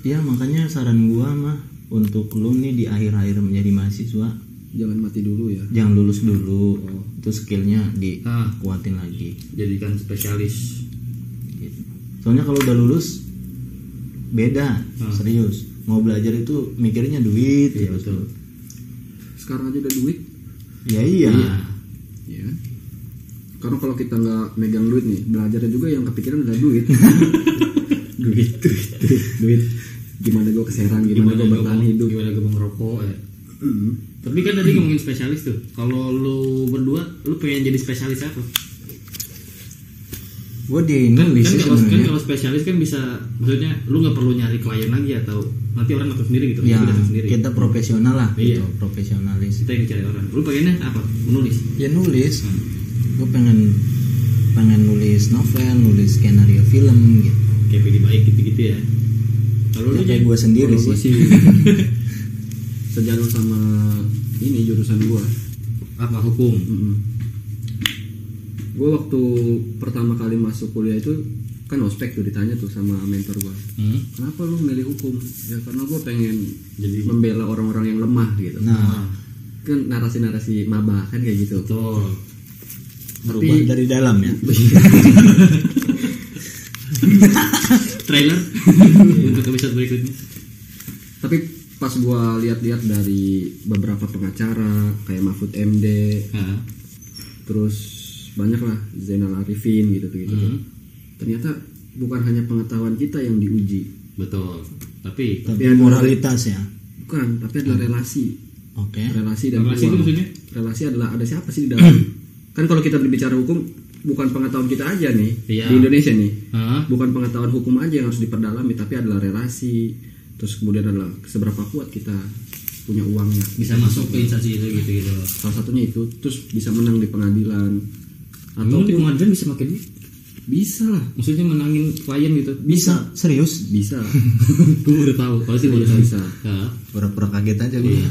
D: Ya makanya saran gua mah untuk lu nih di akhir-akhir menjadi mahasiswa
B: jangan mati dulu ya
D: jangan lulus dulu itu skillnya dikuatin lagi.
C: jadikan spesialis
D: gitu. Soalnya kalau udah lulus beda serius mau belajar itu mikirnya duit
C: Hmm. Iya,
D: terus.
C: betul.
B: sekarang aja udah duit
D: Ya iya.
C: Nah,
B: ya karena kalau kita nggak megang duit nih belajarnya juga yang kepikiran adalah duit duit duit duit, duit. gimana gue keserang gimana, gue
C: gua
B: bertahan
C: mau-
B: hidup
C: gimana gue mau ngerokok ya.
D: Iya.
B: Mm.
C: tapi kan tadi ngomongin spesialis tuh kalau lu berdua lu pengen jadi spesialis apa
D: Gua di
C: kan,
D: nulis
C: kan
D: sih
C: kalau kan
D: sebenarnya.
C: kalau spesialis kan bisa maksudnya lu nggak perlu nyari klien lagi atau nanti orang datang sendiri gitu
D: Ya
C: lu datang sendiri
D: kita profesional lah
C: Iya.
D: gitu, profesionalis.
C: kita yang cari orang lu pengennya apa menulis
D: Ya nulis.
C: Hmm.
D: Gua pengen pengen nulis novel, nulis skenario film gitu.
C: kayak pilih baik gitu gitu ya kalau lu
D: Ya, kayak
C: jadi-
D: gua sendiri
B: Kalau
D: sih.
B: gue sih sejalur sama ini jurusan gue.
C: apa hukum
B: Gue waktu pertama kali masuk kuliah itu kan ospek tuh ditanya tuh sama mentor gue.
C: Hmm.
B: Kenapa lu milih hukum? Ya karena gue pengen
C: Jadi-
B: membela orang-orang yang lemah gitu.
D: Nah,
B: Kan narasi-narasi maba kan kayak gitu.
C: betul
D: berubah dari dalam ya
C: Trailer untuk episode berikutnya.
B: Tapi pas gua lihat-lihat dari beberapa pengacara kayak Mahfud MD,
C: Nah,
B: terus banyak lah Zainal Arifin gitu gitu.
C: Hmm.
B: Ternyata bukan hanya pengetahuan kita yang diuji,
C: betul. Tapi
D: tapi
B: Ya,
D: moralitas ya
B: bukan, tapi
C: Hmm.
B: adalah relasi.
D: oke
B: relasi dan
C: Relasi itu
B: uang.
C: maksudnya?
B: relasi adalah ada siapa sih di dalam kan kalau kita berbicara hukum bukan pengetahuan kita aja nih
C: Iya.
B: di Indonesia nih
C: Hah?
B: bukan pengetahuan hukum aja yang harus diperdalami tapi adalah relasi terus kemudian adalah seberapa kuat kita punya uangnya
C: bisa masuk ke instansi itu gitu gitu.
B: salah satunya itu terus bisa menang di pengadilan atau
C: Atau di pengadilan bisa pakai duit?
B: bisa lah
C: Maksudnya menangin klien gitu?
D: bisa serius
B: bisa
C: Gue udah tahu. Kalau sih udah tahu.
B: Bisa.
C: Ya.
D: pura-pura kaget aja gue
B: Iya.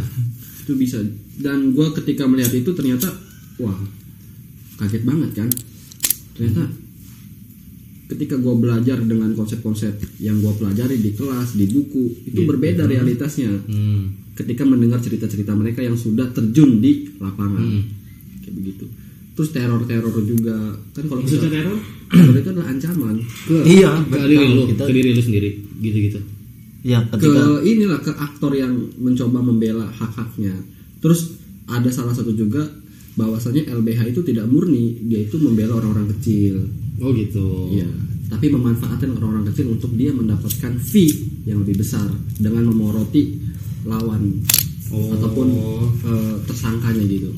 B: itu bisa dan gue ketika melihat itu ternyata wah kaget banget kan ternyata ketika gue belajar dengan konsep-konsep yang gue pelajari di kelas di buku
C: Iya,
B: itu berbeda realitasnya
C: Hmm.
B: ketika mendengar cerita-cerita mereka yang sudah terjun di lapangan
C: Hmm.
B: kayak begitu terus teror-teror juga kan kalau
C: Maksudnya
B: kita-
C: teror?
B: teror itu adalah ancaman ke
D: iya
C: Ke diri
D: betul.
C: lu,
D: kita
C: ke diri lu sendiri, gitu-gitu.
D: ya
B: ke
D: ketika
B: inilah ke aktor yang mencoba membela hak-haknya. Terus ada salah satu juga bahwasanya LBH itu tidak murni, dia itu membela orang-orang kecil.
C: Oh gitu.
B: Iya, tapi memanfaatkan orang-orang kecil untuk dia mendapatkan fee yang lebih besar dengan memoroti lawan
C: Oh.
B: ataupun eh, tersangkanya gitu.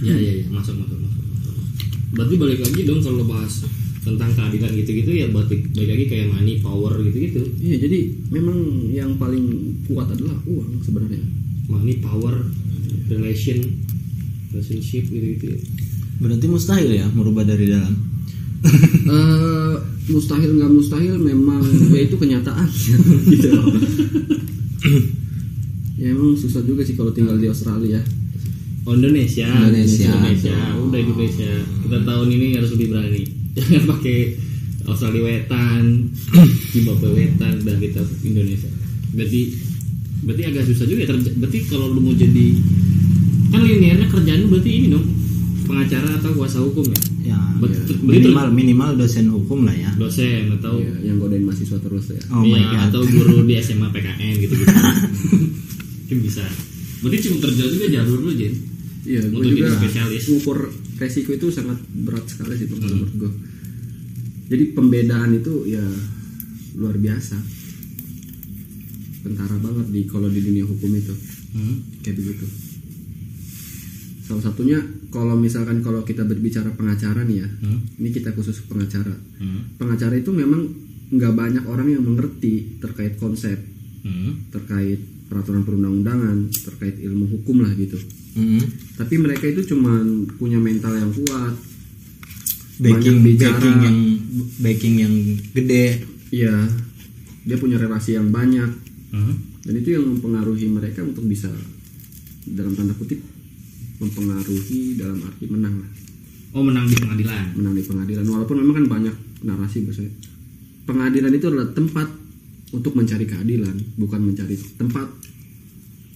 C: Ya ya ya, masuk masuk masuk. masuk. Berarti balik lagi dong kalau bahas tentang keadilan gitu-gitu ya balik, balik lagi kayak money, power gitu-gitu.
B: Iya, jadi memang yang paling kuat adalah uang sebenarnya.
C: Money, power, relation, relationship gitu-gitu. ya.
D: berarti mustahil ya merubah dari dalam
B: eh mustahil nggak mustahil memang ya itu kenyataan gitu ya emang susah juga sih kalau tinggal di Australia
C: Oh, Indonesia,
D: Indonesia.
C: Indonesia. Udah Indonesia. Kita tahun ini harus lebih berani. Jangan pakai Australia Wetan, Zimbabwe Wetan, dan kita Indonesia. Berarti berarti agak susah juga. ya terj- Berarti kalau lu mau jadi kan linearnya kerjaan lu berarti ini dong pengacara atau kuasa hukum ya.
D: ya
C: Berarti, berarti ter-
D: minimal minimal dosen hukum lah ya
C: dosen atau
B: ya, yang godain mahasiswa terus ya
D: Iya. oh my
C: Iya,
D: god
C: atau guru di SMA PKN gitu gitu. Mungkin bisa. Berarti cuma kerja juga jalur lu, Jen.
B: iya gue
C: Untuk jadi
B: juga
C: spesialis. Hmm.
B: ngukur resiko itu sangat berat sekali sih Bang, kalau menurut gue jadi pembedaan itu ya luar biasa tentara banget di kalau di dunia hukum itu
C: Hmm.
B: kayak begitu salah satunya kalau misalkan kalau kita berbicara pengacara nih ya
C: Hmm.
B: ini kita khusus pengacara
C: Hmm.
B: pengacara itu memang nggak banyak orang yang mengerti terkait konsep
C: Hmm.
B: terkait peraturan perundang-undangan terkait ilmu hukum lah gitu
D: Mhm.
B: tapi mereka itu cuman punya mental yang kuat
D: backing
B: banyak bicara.
D: backing ya. yang backing yang gede
B: ya dia punya relasi yang banyak
C: Hmm.
B: dan itu yang mempengaruhi mereka untuk bisa dalam tanda kutip mempengaruhi dalam arti menang lah
C: Oh menang di pengadilan.
B: menang di pengadilan walaupun memang kan banyak narasi biasanya pengadilan itu adalah tempat untuk mencari keadilan bukan mencari tempat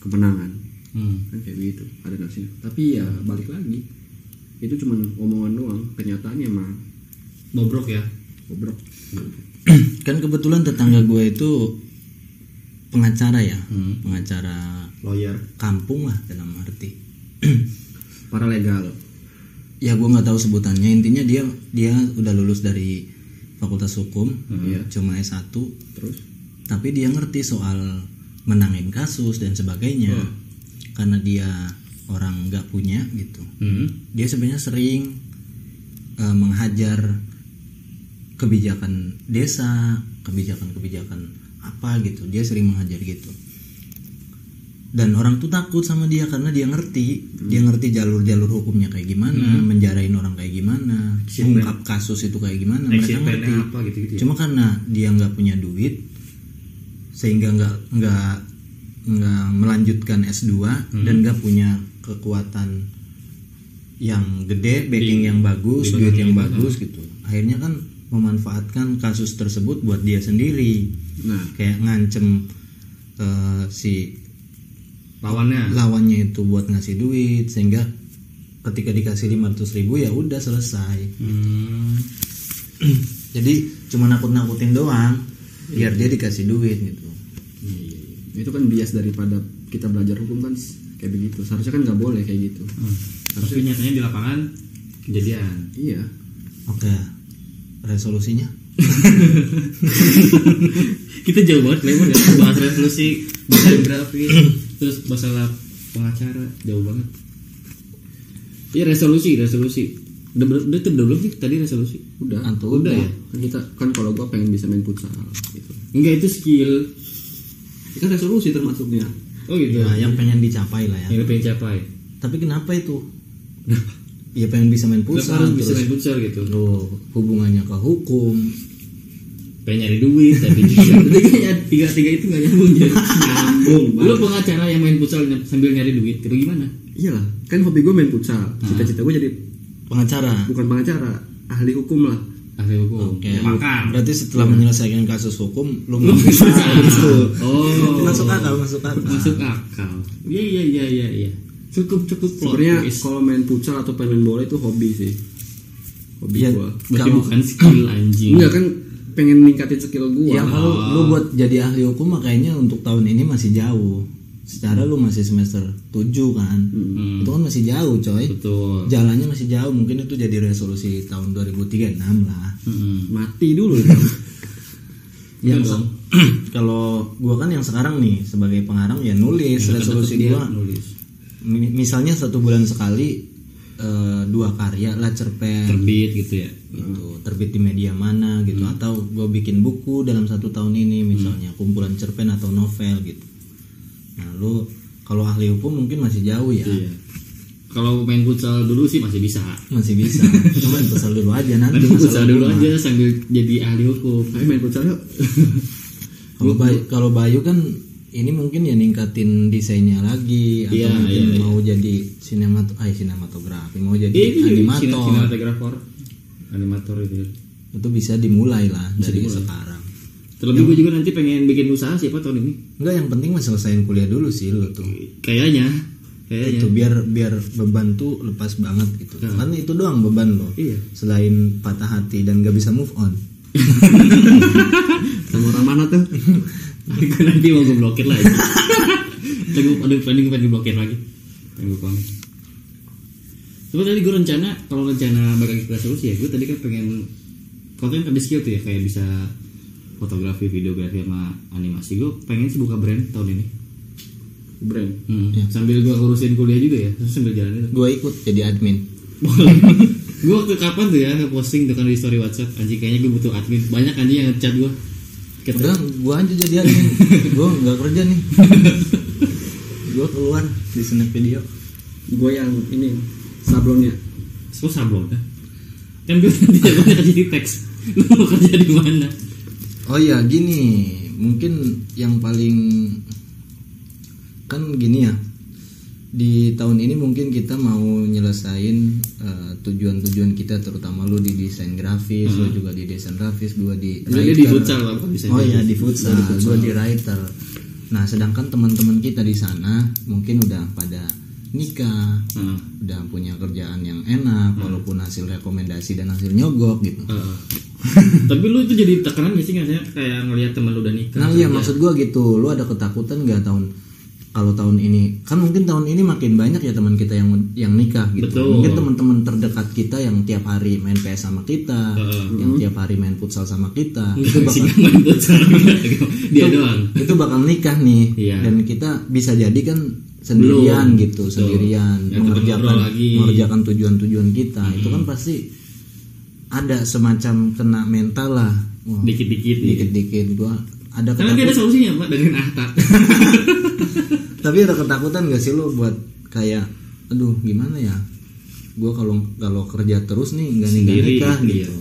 B: kemenangan
C: Hmm.
B: kan kayak gitu ada narasinya tapi ya balik lagi itu cuma omongan doang kenyataannya mah
C: Bobrok ya.
B: bobrok
D: kan kebetulan tetangga gue itu pengacara ya
B: Hmm.
D: pengacara
C: Lawyer.
D: kampung lah dalam arti
B: para legal
D: ya gue nggak tahu sebutannya intinya dia dia udah lulus dari fakultas hukum
B: Hmm.
D: cuma S1
B: terus
D: tapi dia ngerti soal menangin kasus dan sebagainya karena dia orang nggak punya gitu dia sebenarnya sering eh, menghajar kebijakan desa, kebijakan-kebijakan apa gitu. Dia sering menghajar gitu. Dan orang tuh takut sama dia karena dia ngerti, dia ngerti jalur-jalur hukumnya kayak gimana, menjarain orang kayak gimana, mengungkap kasus itu kayak gimana.
C: Action
D: Mereka
C: plan-nya
D: ngerti.
C: apa gitu-gitu ya?
D: Cuma karena dia nggak punya duit, sehingga nggak nggak nggak melanjutkan S2 dan nggak punya kekuatan yang gede, backing yang bagus, duit yang bagus gitu. Akhirnya kan memanfaatkan kasus tersebut buat dia sendiri.
B: Nah.
D: kayak ngancem eh, si
C: Lawannya.
D: lawannya itu buat ngasih duit sehingga ketika dikasih 500.000 ribu ya udah selesai
C: Hmm.
D: jadi cuma nakut-nakutin doang biar dia dikasih duit gitu
B: Iya, iya,
C: Hmm.
B: iya. itu kan bias daripada kita belajar hukum kan s- kayak begitu seharusnya kan nggak boleh kayak gitu
C: Tapi nyatanya di lapangan kejadian.
B: iya
D: oke resolusinya
C: kita jauh banget lebar ya bahas resolusi desain grafis terus masalah pengacara jauh banget iya resolusi resolusi udah ber- udah udah belum sih tadi resolusi
B: udah
D: Antu
C: udah ya
B: kan kita kan kalau gua pengen bisa main futsal gitu
C: enggak itu skill
B: itu kan resolusi termasuknya
C: oh gitu
D: Nah, yang pengen dicapai lah ya
C: yang lu pengen capai
D: tapi kenapa itu ya pengen bisa main
C: terus
D: futsal
C: harus bisa
D: terus
C: main futsal gitu
D: Loh, hubungannya ke hukum
C: pengen nyari duit tapi tiga tiga tiga itu nggak nyambung jadi
B: nyambung
C: lu pengacara yang main futsal ny- sambil nyari duit itu gimana
B: iyalah kan hobi gua main futsal cita-cita gua jadi
D: pengacara
B: bukan pengacara ahli hukum lah
C: ahli hukum
D: Oke,
C: Ya,
D: lu-
C: makan
D: berarti setelah menyelesaikan kasus hukum lu nggak bisa Gitu.
C: oh
D: masuk akal masuk akal
C: masuk akal iya iya iya iya iya cukup cukup plot
B: sebenarnya
C: twist.
B: kalau main futsal atau pengen main bola itu hobi sih hobi
D: Iya.
B: gua
C: berarti
D: kalau-
C: bukan skill anjing
B: enggak kan pengen ningkatin skill gua
D: ya kalau lu buat jadi ahli hukum makanya untuk tahun ini masih jauh secara lu masih semester 7 kan
C: Hmm.
D: itu kan masih jauh coy
C: betul
D: jalannya masih jauh mungkin itu jadi resolusi tahun 2036 lah
C: Mm-mm.
B: mati dulu Iya. itu
D: yang se- kalau gua kan yang sekarang nih sebagai pengarang ya nulis resolusi
C: Dia
D: gua
C: nulis
D: Mi- misalnya satu bulan sekali eh, dua karya lah cerpen
C: terbit gitu ya
D: gitu terbit di media mana gitu
C: Hmm.
D: atau gue bikin buku dalam satu tahun ini misalnya kumpulan cerpen atau novel gitu nah lu kalau ahli hukum mungkin masih jauh ya
C: iya kalau main futsal dulu sih masih bisa
D: masih bisa cuma futsal dulu aja nanti
C: main
D: masalah
C: futsal dulu
D: hukum.
C: aja sambil jadi ahli hukum
B: ayo main futsal yuk
D: kalau bayu kalau bayu kan ini mungkin ya ningkatin desainnya lagi atau
C: Iya,
D: mungkin
C: iya,
D: mau jadi sinemato ah, sinematografi mau jadi
C: Iya, itu
D: animator
C: sine- sinematografer animator itu ya.
D: itu bisa dimulai lah dari sekarang
C: terlebih gue juga nanti pengen bikin usaha sih pak tahun ini
D: enggak yang penting mah selesaiin kuliah dulu sih lu tuh
C: kayaknya kayaknya
D: itu gitu, biar biar beban tuh lepas banget gitu kan itu doang beban lo
C: Iya.
D: selain patah hati dan gak bisa move on
B: sama orang mana tuh
C: Aku nanti mau gue blokir lagi. Lagi ada planning pengen blokir lagi. Pengen gue komen. Cuma tadi gue rencana kalau rencana bagi resolusi ya gue tadi kan pengen konten tadi skill tuh ya kayak bisa fotografi, videografi sama animasi gue pengen sih buka brand tahun ini.
B: brand
C: Hmm. Sambil gue urusin kuliah juga ya, sambil jalan itu.
D: gue ikut jadi admin
C: Boleh. gue waktu kapan tuh ya ngeposting dengan di story WhatsApp anjing kayaknya gue butuh admin banyak anjing yang ngechat gue. Kayak
D: udah gue aja jadi admin gue nggak kerja nih gue keluar di snap video
B: gue yang ini sablonnya
C: Terus sablon kan? Kan gue nanti jawabannya kerja di teks Lu mau kerja di mana?
D: oh ya gini mungkin yang paling kan gini ya di tahun ini mungkin kita mau nyelesain eh, tujuan-tujuan kita terutama lu di desain grafis lu juga di desain grafis gua di
C: Hmm. Lu dia di futsal lah, bukan desain
D: oh
C: grafis.
D: ya di futsal gua di writer nah sedangkan teman-teman kita di sana mungkin udah pada nikah
C: Heeh.
D: udah punya kerjaan yang enak
C: Hmm.
D: walaupun hasil rekomendasi dan hasil nyogok gitu
C: Heeh. Tapi lu itu jadi tekanan gak sih ngasanya kayak ngelihat teman lu udah nikah
D: Nah iya maksud gua gitu, lu ada ketakutan nggak tahun kalau tahun ini kan mungkin tahun ini makin banyak ya teman kita yang yang nikah gitu.
C: Betul.
D: Mungkin teman-teman terdekat kita yang tiap hari main PS sama kita, yang tiap hari main futsal sama kita, itu
C: Nggak, sih
D: bakal
C: nggak main futsal Dia doang
D: itu bakal nikah nih
C: Iya.
D: dan kita bisa jadi kan sendirian
C: Belum.
D: gitu, sendirian
C: Ya, temen
D: mengerjakan
C: ngobrol lagi.
D: mengerjakan tujuan-tujuan kita. Itu kan pasti ada semacam kena mental lah. Wah,
C: Dikit-dikit ya.
D: dikit-dikit gua ada
C: Karena dia ada solusinya pak dengan Ahta
D: tapi ada ketakutan gak sih lo buat kayak aduh gimana ya gue kalau kalau kerja terus nih nggak nikah
C: Sendiri,
D: nikah
C: iya.
D: gitu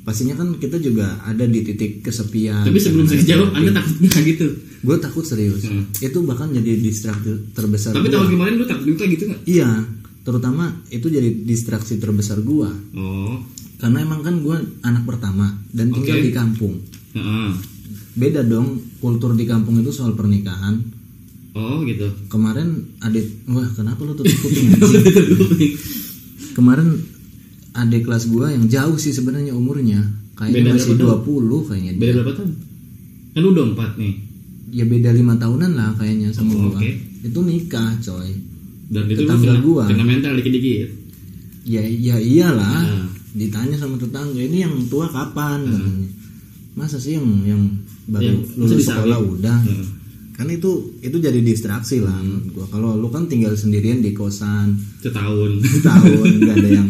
D: pastinya kan kita juga ada di titik kesepian
C: Tapi sebelum saya jawab
D: Iya.
C: anda takut nggak gitu
D: gue takut serius
C: Hmm.
D: itu bahkan jadi distraksi terbesar
C: Tapi
D: gua.
C: tahun kemarin lu takut juga gitu nggak?
D: iya terutama itu jadi distraksi terbesar gue
C: Oh
D: karena emang kan gue anak pertama dan tinggal
C: Oke.
D: di kampung
C: Heeh.
D: beda dong kultur di kampung itu soal pernikahan
C: Oh gitu
D: kemarin adit wah kenapa lu tutup kuping anjing? kemarin adik kelas gua yang jauh sih sebenarnya umurnya
C: Beda
D: kayaknya masih
C: berapa
D: 20 kayaknya dia.
C: Beda berapa tahun? Kan lu udah empat nih.
D: ya beda lima tahunan lah kayaknya sama
C: Oh,
D: gua
C: oke.
D: itu nikah coy
C: Dan itu lu
D: Tetangga
C: kena,
D: gua.
C: kena mental dikit-dikit.
D: ya ya iyalah
C: Nah.
D: ditanya sama tetangga ini yang tua kapan katanya. masa sih yang yang baru
C: Yang- masa
D: lulus
C: disalin?
D: sekolah udah
C: Hmm.
D: kan itu itu jadi distraksi lah menurut gua kalau lu kan tinggal sendirian di kosan
C: Setahun.
D: tahun nggak ada yang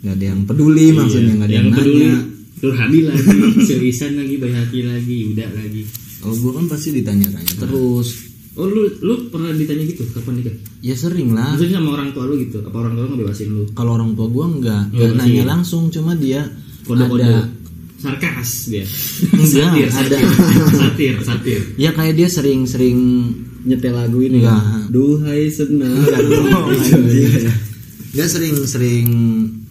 D: nggak ada yang peduli maksudnya
C: Iya.
D: nggak ada yang,
C: peduli.
D: nanya
C: Turhabi lagi, seriusan lagi, bayaki lagi, udah lagi.
D: kalau gua kan pasti ditanya-tanya terus
C: Oh lu lu pernah ditanya gitu kapan nikah?
D: ya sering lah
C: Maksudnya sama orang tua lu gitu? Apa orang tua lu ngebebasin lu?
D: kalau orang tua gua nggak
C: Iya,
D: nggak
C: pasti.
D: nanya langsung cuma dia
C: Kode-kode.
D: ada
C: Sarkas dia.
D: Enggak,
C: satir,
D: ada.
C: satir, satir, satir.
D: ya kayak dia sering-sering Iya.
E: nyetel lagu ini
D: Enggak.
E: kan duhai senang
D: Iya. dia sering-sering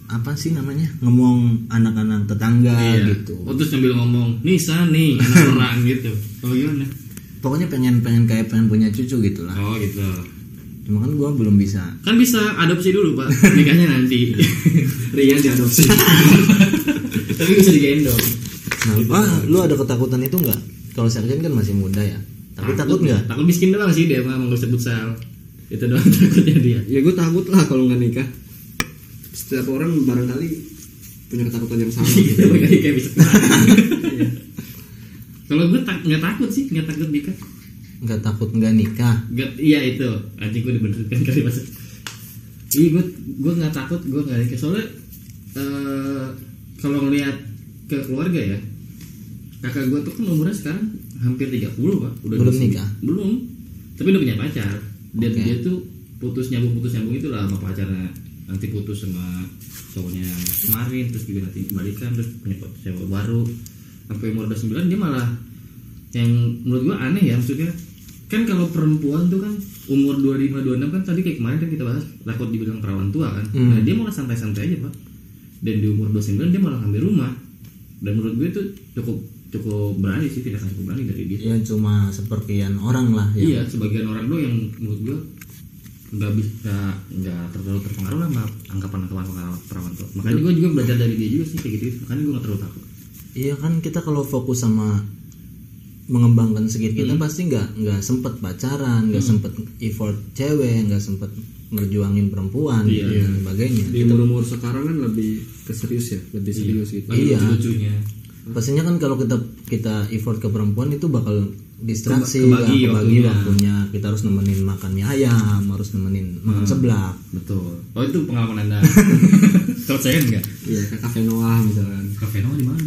D: apa sih namanya ngomong anak-anak tetangga gitu
C: Oh, terus sambil ngomong, Nisa nih, anak orang gitu. Kalau
D: Nah.
C: gimana?
D: pokoknya pengen pengen kayak pengen punya cucu gitu lah
C: Oh gitu.
D: cuma kan gua belum bisa
C: Kan bisa adopsi dulu pak, nikahnya nanti.
D: Iya.
C: Rian diadopsi. Tapi bisa digendong.
D: nah,
C: Gitu.
D: ah, lu ada ketakutan itu nggak kalau Sergen kan masih muda ya tapi takut nggak
C: Takut miskin doang sih dia mah mau sebut sal. Itu doang takutnya dia.
B: ya gue takut lah kalau nggak nikah setiap orang barangkali punya ketakutan yang sama
C: Gitu, makanya kayak bisa kena. Iya. Kalau gue tak nggak takut sih, nggak takut nikah.
D: nggak takut nggak nikah
C: Nggak- iya itu, anjing gue dibenerin kali maksud. Iya gue gue nggak takut, gue nggak nikah soalnya eh, kalau ngelihat ke keluarga ya, kakak gue tuh kan umurnya sekarang hampir 30 pak, udah
D: Belum
C: di-
D: nikah?
C: belum, tapi udah punya pacar. Dia
D: Oke.
C: dia tuh putus nyambung putus nyambung itulah sama pacarnya nanti putus sama cowoknya yang kemarin terus juga nanti balikan terus punya cowok baru sampai umur 29 dia malah yang menurut gua aneh ya maksudnya kan kalau perempuan tuh kan umur 25 26 kan tadi kayak kemarin kan kita bahas takut dibilang perawan tua kan nah dia malah santai-santai aja pak dan di umur 29 dia malah ngambil rumah dan menurut gue itu cukup cukup berani sih tidak cukup berani dari
D: ya
C: dia
D: cuma sepertian orang lah ya
C: Iya, sebagian orang doang yang menurut gua nggak bisa nggak terlalu terpengaruh lah sama anggapan anggapan perawan tua. Makanya gua juga belajar dari dia juga sih kayak gitu. Makanya gua nggak terlalu takut.
D: Iya kan kita kalau fokus sama mengembangkan skill kita
C: Hmm.
D: pasti nggak nggak sempet pacaran, nggak sempet effort cewek, nggak sempet merjuangin perempuan
C: Iya.
D: gitu, dan sebagainya.
B: di umur umur sekarang kan lebih ke serius ya lebih serius gitu
C: Lagi
D: Iya.
C: lucu-lucunya.
D: Pastinya kan kalau kita kita effort ke perempuan itu bakal distraksi,
C: Keba- kebagi
D: nggak kebagi
C: waktunya.
D: waktunya. Kita harus nemenin makan mie ayam, harus nemenin makan
C: Hmm.
D: seblak.
C: Betul. Oh itu pengalaman anda. Kalau saya enggak.
B: iya ke kafe Noah misalkan
C: Kafe Noah di mana?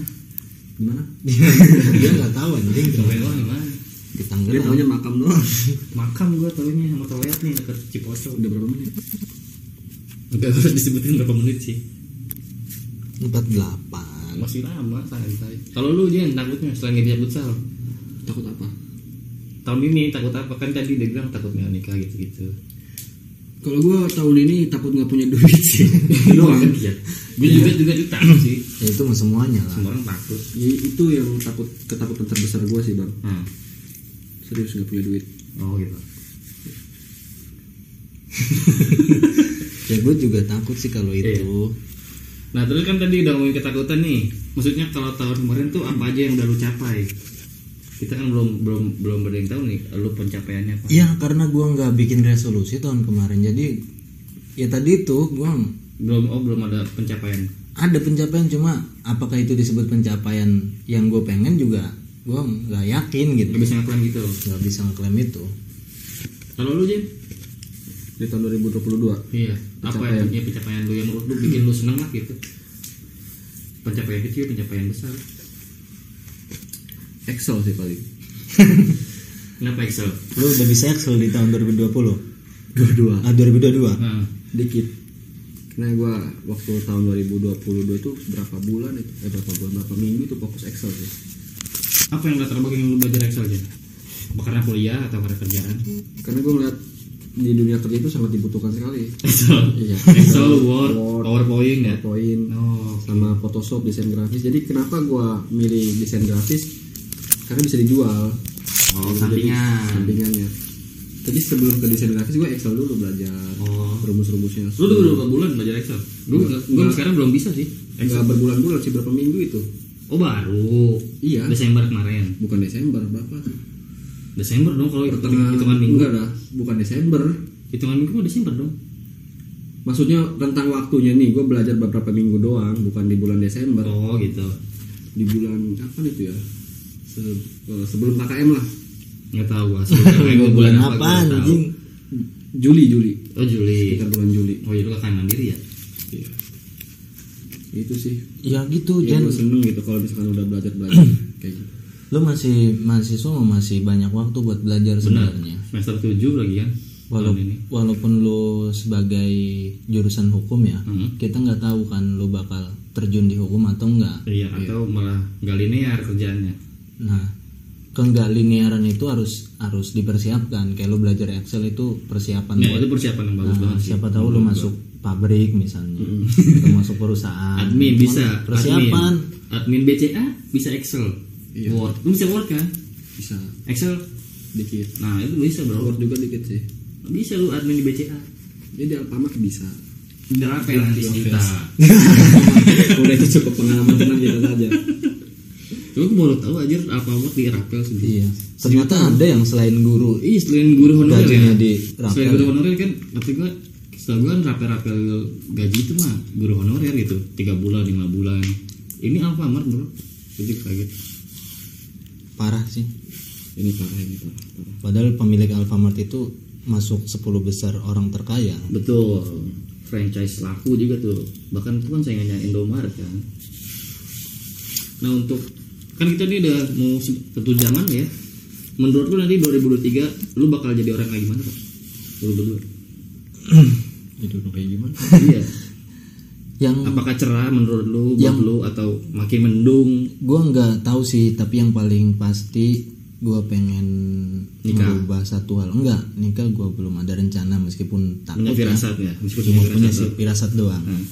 B: gimana
D: Dia nggak tahu anjing.
C: Kafe Noah di mana?
D: Kita
B: dia
D: nggak
B: taunya makam Noah
C: Makam gua taunya sama toilet nih dekat Ciposo.
B: udah berapa menit
C: Enggak harus disebutin berapa menit sih.
D: empat delapan.
C: Masih lama santai. Kalau lu Jen takutnya selain nggak bisa futsal
B: takut apa
C: tahun ini takut apa kan tadi dia bilang takut nggak nikah gitu-gitu.
B: kalau gue tahun ini takut nggak punya duit sih doang
C: ya? Gue juga juga tuh takut sih.
D: Ya, itu mah semuanya lah.
C: Semua orang takut.
B: Ya, itu yang takut ketakutan terbesar gue sih bang serius nggak punya duit
C: Hmm. Oh gitu.
D: Ya gue juga takut sih kalau
C: Iya.
D: itu.
C: Nah terus kan tadi udah ngomongin ketakutan nih. Maksudnya kalau tahun kemarin tuh apa aja yang udah lu capai? Kita kan belum belum belum ada yang tahu nih lu pencapaiannya apa.
D: Ya karena gua nggak bikin resolusi tahun kemarin jadi ya tadi itu gua
C: Belum oh belum ada pencapaian.
D: ada pencapaian cuma apakah itu disebut pencapaian yang gue pengen juga gua nggak yakin gitu
C: Gak bisa ngaklaim gitu.
D: nggak bisa ngeklaim itu
C: Kalau lu Jen?
B: di tahun 2022
C: Iya. Apa yang punya pencapaian lu yang menurut lu bikin lu seneng lah gitu? Pencapaian kecil, pencapaian besar.
B: Excel sih paling
C: Kenapa Excel?
D: lu udah bisa excel di tahun 2020
B: dua-dua
D: ah 2022
C: Nah,
B: dikit karena gue waktu tahun 2022 itu berapa bulan itu eh berapa bulan berapa minggu itu fokus Excel sih
C: apa yang latar belakang yang lu belajar Excel Jen? Apa Karena kuliah atau karena kerjaan?
B: karena gue ngeliat di dunia kerja itu sangat dibutuhkan sekali
C: Excel,
B: Iya.
C: Excel, Word,
B: Word.
C: PowerPoint ya.
B: poin
C: Oh,
B: sama Photoshop desain grafis jadi kenapa gue milih desain grafis karena bisa dijual
C: oh sampingan.
B: sampingannya Tapi sebelum ke desain grafis gue Excel dulu belajar
C: Oh.
B: rumus-rumusnya.
C: Lu udah berapa bulan belajar Excel? Gue
B: Enggak.
C: gue sekarang belum bisa sih.
B: Enggak berbulan-bulan sih berapa minggu itu?
C: Oh baru.
B: Iya.
C: Desember kemarin.
B: Bukan Desember berapa?
C: Desember dong kalau hitung-
B: Pertengahan
C: hitungan minggu.
B: Enggak dah, bukan Desember.
C: Hitungan minggu mah Desember dong.
B: Maksudnya rentang waktunya nih gue belajar beberapa minggu doang, bukan di bulan Desember.
C: Oh gitu.
B: Di bulan kapan itu ya? Se- eh, sebelum KKM lah.
C: Nggak tahu gua. Sebenarnya gua
D: bulan
C: gua
D: apa
C: nggak tahu.
D: anjing
B: Juli, Juli.
C: Oh Juli.
B: Sekitar bulan Juli.
C: Oh jadi lu kakak mandiri ya?
B: Iya. Itu sih.
D: ya gitu
B: Ya,
C: Iya,
D: Jan
B: gue seneng gitu kalau misalkan udah belajar belajar kayak gitu.
D: lu masih mahasiswa masih banyak waktu buat belajar
C: Benar.
D: sebenarnya
C: Semester 7 lagi kan.
D: Walau-
C: Tahun ini.
D: walaupun lu sebagai jurusan hukum ya
C: Mhm.
D: kita nggak tahu kan lu bakal terjun di hukum atau enggak
C: Iya, atau malah nggak linear kerjaannya.
D: Nah, keenggak linearan itu harus harus dipersiapkan. Kayak lu belajar Excel itu persiapan
C: Nah,
D: buat
C: itu persiapan yang bagus
D: nah,
C: banget sih.
D: siapa tahu lu masuk pabrik misalnya, atau masuk perusahaan.
C: Admin
D: Cuman
C: bisa,
D: Persiapan. Iya.
C: Admin, admin BCA bisa Excel. Word. Lu bisa Word kan?
B: Bisa
C: Excel.
B: dikit.
C: Nah, itu bisa, Bro.
B: Word juga dikit sih.
C: Bisa lu admin di BCA.
B: Jadi di Alfamart bisa.
C: Berapa
D: Iya,
C: yang nanti kita?
B: Udah itu cukup pengalaman tenang kita saja.
C: Cuma gue baru tahu aja apa buat di Rapel sendiri.
D: Iya. Ternyata ada yang selain guru.
C: Iya, selain guru honorer
D: Gajinya
C: ya.
D: di
C: Selain
D: Rapel
C: guru
D: ya.
C: honorer kan, kata gue setahu gue kan rapel-rapel gaji itu mah guru honorer gitu, tiga bulan, lima bulan. Ini Alfamart bro, jadi kaget.
D: Parah sih.
B: Ini parah ini parah. parah.
D: Padahal pemilik Alfamart itu masuk 10 besar orang terkaya.
C: Betul, franchise laku juga tuh. Bahkan itu kan saingannya Indomaret kan. Nah untuk kan kita ini udah mau se- satu jaman ya. Menurut lu nanti 2023 lu bakal jadi orang kayak gimana pak? Lu berdua.
D: Itu kayak gimana?
C: iya.
D: Yang
C: Apakah cerah menurut lu buat
D: Yang-
C: lu atau makin mendung?
D: gue nggak tahu sih tapi yang paling pasti gue pengen
C: Nikah.
D: merubah satu hal enggak nikah gue belum ada rencana meskipun takut
C: Punya
D: ya.
C: firasat ya. Meskipun
D: cuma
C: punya
D: punya
C: firasat.
D: sih firasat doang
C: Hmm.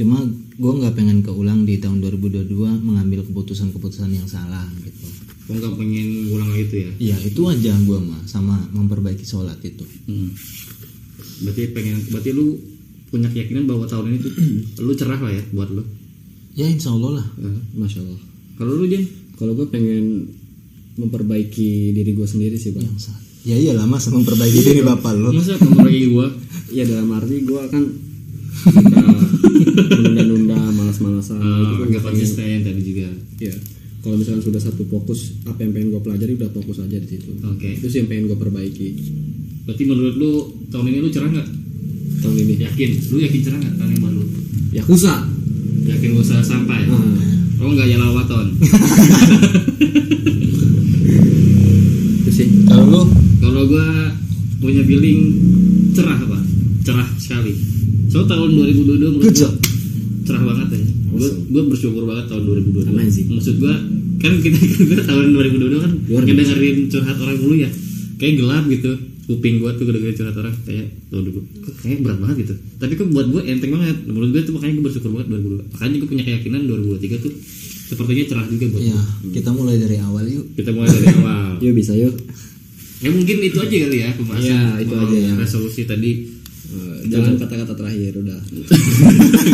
D: cuma gue nggak pengen keulang di tahun 2022 mengambil keputusan-keputusan yang salah gitu
C: Kok nggak pengen ngulang lagi itu ya?
D: ya itu aja gue mah sama memperbaiki sholat itu
C: Hmm. Berarti pengen berarti lu punya keyakinan bahwa tahun ini tuh lu cerah lah ya buat lu.
D: ya insya Allah lah
C: Eh,
B: Masya Allah.
C: Kalau lu Jen,
B: Kalau gue pengen memperbaiki diri gue sendiri sih bang.
D: yang salah ya iya lama sama memperbaiki diri bapak lo
C: masa kamu lagi gua Eh,
B: Ya dalam arti gue kan suka menunda-nunda, malas-malasan. gitu kan. Itu gua
C: nggak
B: pengen-
C: konsisten tadi juga
B: Ya, kalau misalkan sudah satu fokus apa yang pengen gue pelajari udah fokus aja di situ.
C: Oke.
B: Itu sih yang pengen gue perbaiki
C: berarti menurut lu tahun ini lu cerah nggak
B: tahun ini.
C: yakin lu yakin cerah nggak tahun yang baru
B: Ya kusa.
C: yakin lu usah sampai
B: Nah, Hmm.
C: oh nggak ya lawaton
B: Itu sih.
D: kalau lo
C: kalau gua punya feeling cerah pak cerah sekali so tahun 2022 menurut gua
D: Kecil.
C: cerah banget ya gua, gua bersyukur banget tahun 2022
E: Amazing.
C: maksud gua kan kita kita tahun 2022 kan
B: Luar biasa.
C: ngedengerin curhat orang dulu ya kayak gelap gitu kuping gua tuh kedengerin curhat orang kayak tahun dulu kok kayak berat banget gitu tapi kok buat gua enteng banget menurut gua tuh makanya gua bersyukur banget 2022 makanya gua punya keyakinan 2023 tuh sepertinya cerah juga buat
B: Iya.
D: ya
C: gua.
D: kita mulai dari awal yuk
C: kita mulai dari awal
B: Yuk bisa yuk. Eh,
C: ya mungkin itu aja kali ya pembahasan
B: Iya, itu
C: Mau
B: aja ya.
C: resolusi tadi
B: Eh, jangan kata-kata terakhir udah.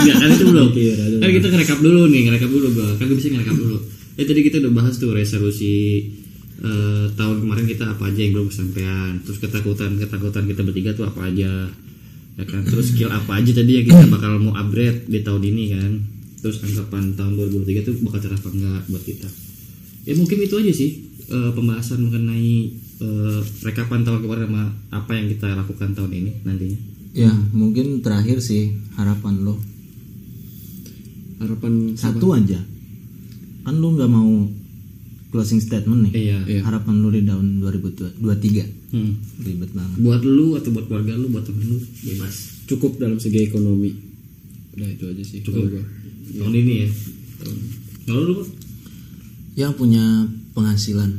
C: ya kan itu belum
B: Iya, ada.
C: kan kita ngerekap dulu nih ngerekap dulu bang kan gue bisa ngerekap dulu ya tadi kita udah bahas tuh resolusi eh, tahun kemarin kita apa aja yang belum kesampaian terus ketakutan ketakutan kita bertiga tuh apa aja ya kan terus skill apa aja tadi yang kita bakal mau upgrade di tahun ini kan terus anggapan tahun 2023 tuh bakal cerah apa enggak buat kita ya mungkin itu aja sih eh, pembahasan mengenai eh, rekapan tahun kemarin sama apa yang kita lakukan tahun ini nantinya
D: ya mungkin terakhir sih harapan lo
B: Harapan
D: satu aja kan lu nggak mau closing statement nih
C: iya
B: Iya.
D: harapan lu di tahun 2023
C: Hmm.
D: ribet banget
C: buat lu atau buat keluarga lu buat temen lu bebas
B: cukup dalam segi ekonomi. Udah itu aja sih. kalau
C: Cukup.
B: gua.
C: tahun ini ya kalau lu Pak?
D: yang punya penghasilan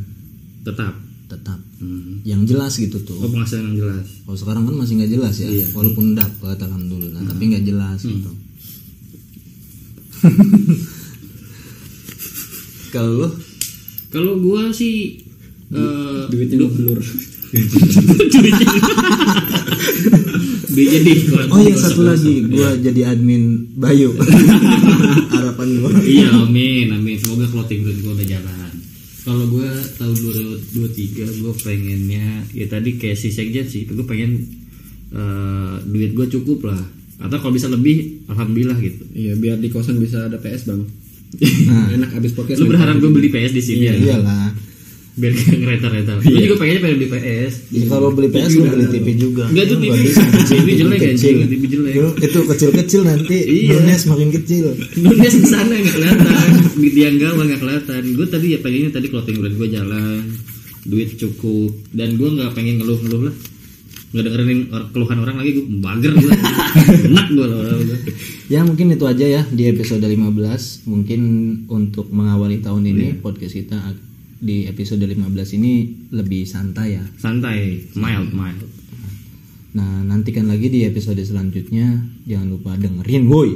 C: tetap
D: tetap
C: hmm.
D: yang jelas gitu
C: oh
D: tuh
C: penghasilan yang jelas
D: kalau sekarang kan masih nggak jelas ya
C: Iya. Hmm.
D: walaupun dapat alhamdulillah tapi nggak jelas gitu kalau lu
C: kalau gua sih eh
B: Duitnya
C: du- eh,
B: lu blur.
C: Bija di iklan.
D: Oh yang satu lagi, gua
C: Iya.
D: jadi admin Bayu. Harapan gua.
C: Iya amin amin semoga clothing brand gue udah jalan. Kalau gue tahun 2023 gue pengennya ya tadi kayak si sekjen sih gue pengen eh, duit gue cukup lah atau kalau bisa lebih alhamdulillah gitu.
B: Iya biar di kosan bisa ada PS bang.
D: Nah.
B: Enak abis podcast. ya.
C: Lu
B: main
C: berharap
B: PS.
D: gitu.
C: gue beli PS di sini
D: Iya,
C: ya?
D: Iyalah.
C: Biar gak ngereta-reta.
D: Iya.
C: Gue juga pengennya pengen beli PS.
D: Ya, kalau beli PS lu beli TV juga.
C: Enggak, itu
D: Lu
C: TV.
D: nggak bisa, kecil,
C: TV jelek,
D: kecil.
C: anjing, TV jelek.
D: Lu- Itu kecil-kecil nanti
C: Iya.
D: dunia semakin kecil.
C: Dunia sana nggak kelihatan, di tiang gawang nggak kelihatan. Gue tadi ya pengennya tadi clothing brand gue jalan, duit cukup, dan gue nggak pengen ngeluh-ngeluh lah. Nggak dengerin or- keluhan orang lagi, gue bager gue, enak gue lah. orang gua.
D: Ya mungkin itu aja ya di episode 15 Mungkin untuk mengawali tahun ini
C: Iya.
D: podcast kita ag- di episode 15 ini lebih santai ya
C: Santai, mild, mild.
D: Nah nantikan lagi di episode selanjutnya Jangan lupa dengerin woi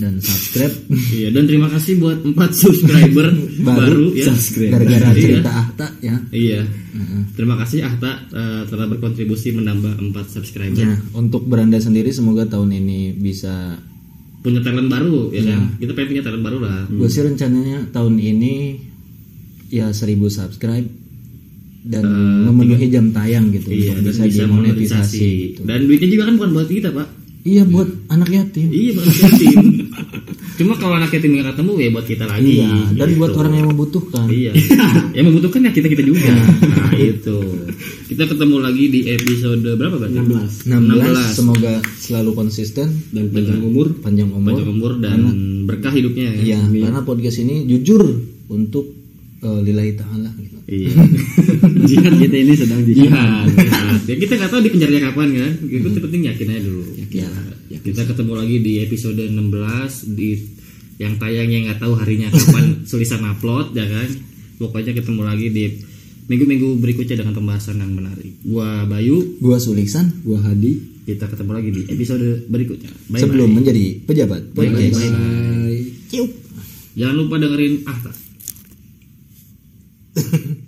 D: Dan subscribe
C: Iya, dan terima kasih buat 4 subscriber baru, ya.
D: Gara-gara
C: Iya.
D: cerita Ahta ya Nah,
C: Iya.
D: Heeh.
C: Terima kasih Ahta eh, telah berkontribusi menambah 4 subscriber.
D: Nah, untuk beranda sendiri semoga tahun ini bisa
C: Punya talent baru ya kan. Kita pengen punya talent baru lah.
D: Gue sih rencananya tahun ini ya 1000 subscribe dan memenuhi jam tayang gitu
C: Eh, Iya,
D: untuk
C: dan bisa monetisasi.
D: gitu.
C: Dan duitnya juga kan bukan buat kita, Pak.
D: Iya buat anak yatim.
C: Iya, buat anak yatim. Cuma kalau anak yatim nggak ketemu ya buat kita lagi.
D: Iya, dan
C: gitu.
D: buat orang yang membutuhkan.
C: Iya. yang membutuhkan ya kita kita juga. Nah, itu. Kita ketemu lagi di episode berapa, Bang?
E: 16
D: 16, semoga selalu konsisten
E: dan panjang umur
D: panjang umur.
C: Panjang umur dan berkah hidupnya ya.
D: Iya, karena podcast ini jujur untuk eh, lillahi taala gitu.
C: Iya.
E: jihad kita ini sedang jihad
C: Iya. Ya kita nggak tahu di penjara kapan kan. Itu penting yakin aja dulu.
D: Ya,
C: Kita ketemu lagi di episode 16 di yang tayangnya nggak tahu harinya kapan tulisan upload ya kan. Pokoknya ketemu lagi di minggu-minggu berikutnya dengan pembahasan yang menarik. Gua Bayu,
D: gua Suliksan
B: Gua Hadi.
C: kita ketemu lagi di episode berikutnya. Bye
D: sebelum
C: bye.
D: menjadi pejabat
C: Bye bye.
D: podcast.
B: Bye.
D: Cium.
C: Jangan lupa dengerin Ahta.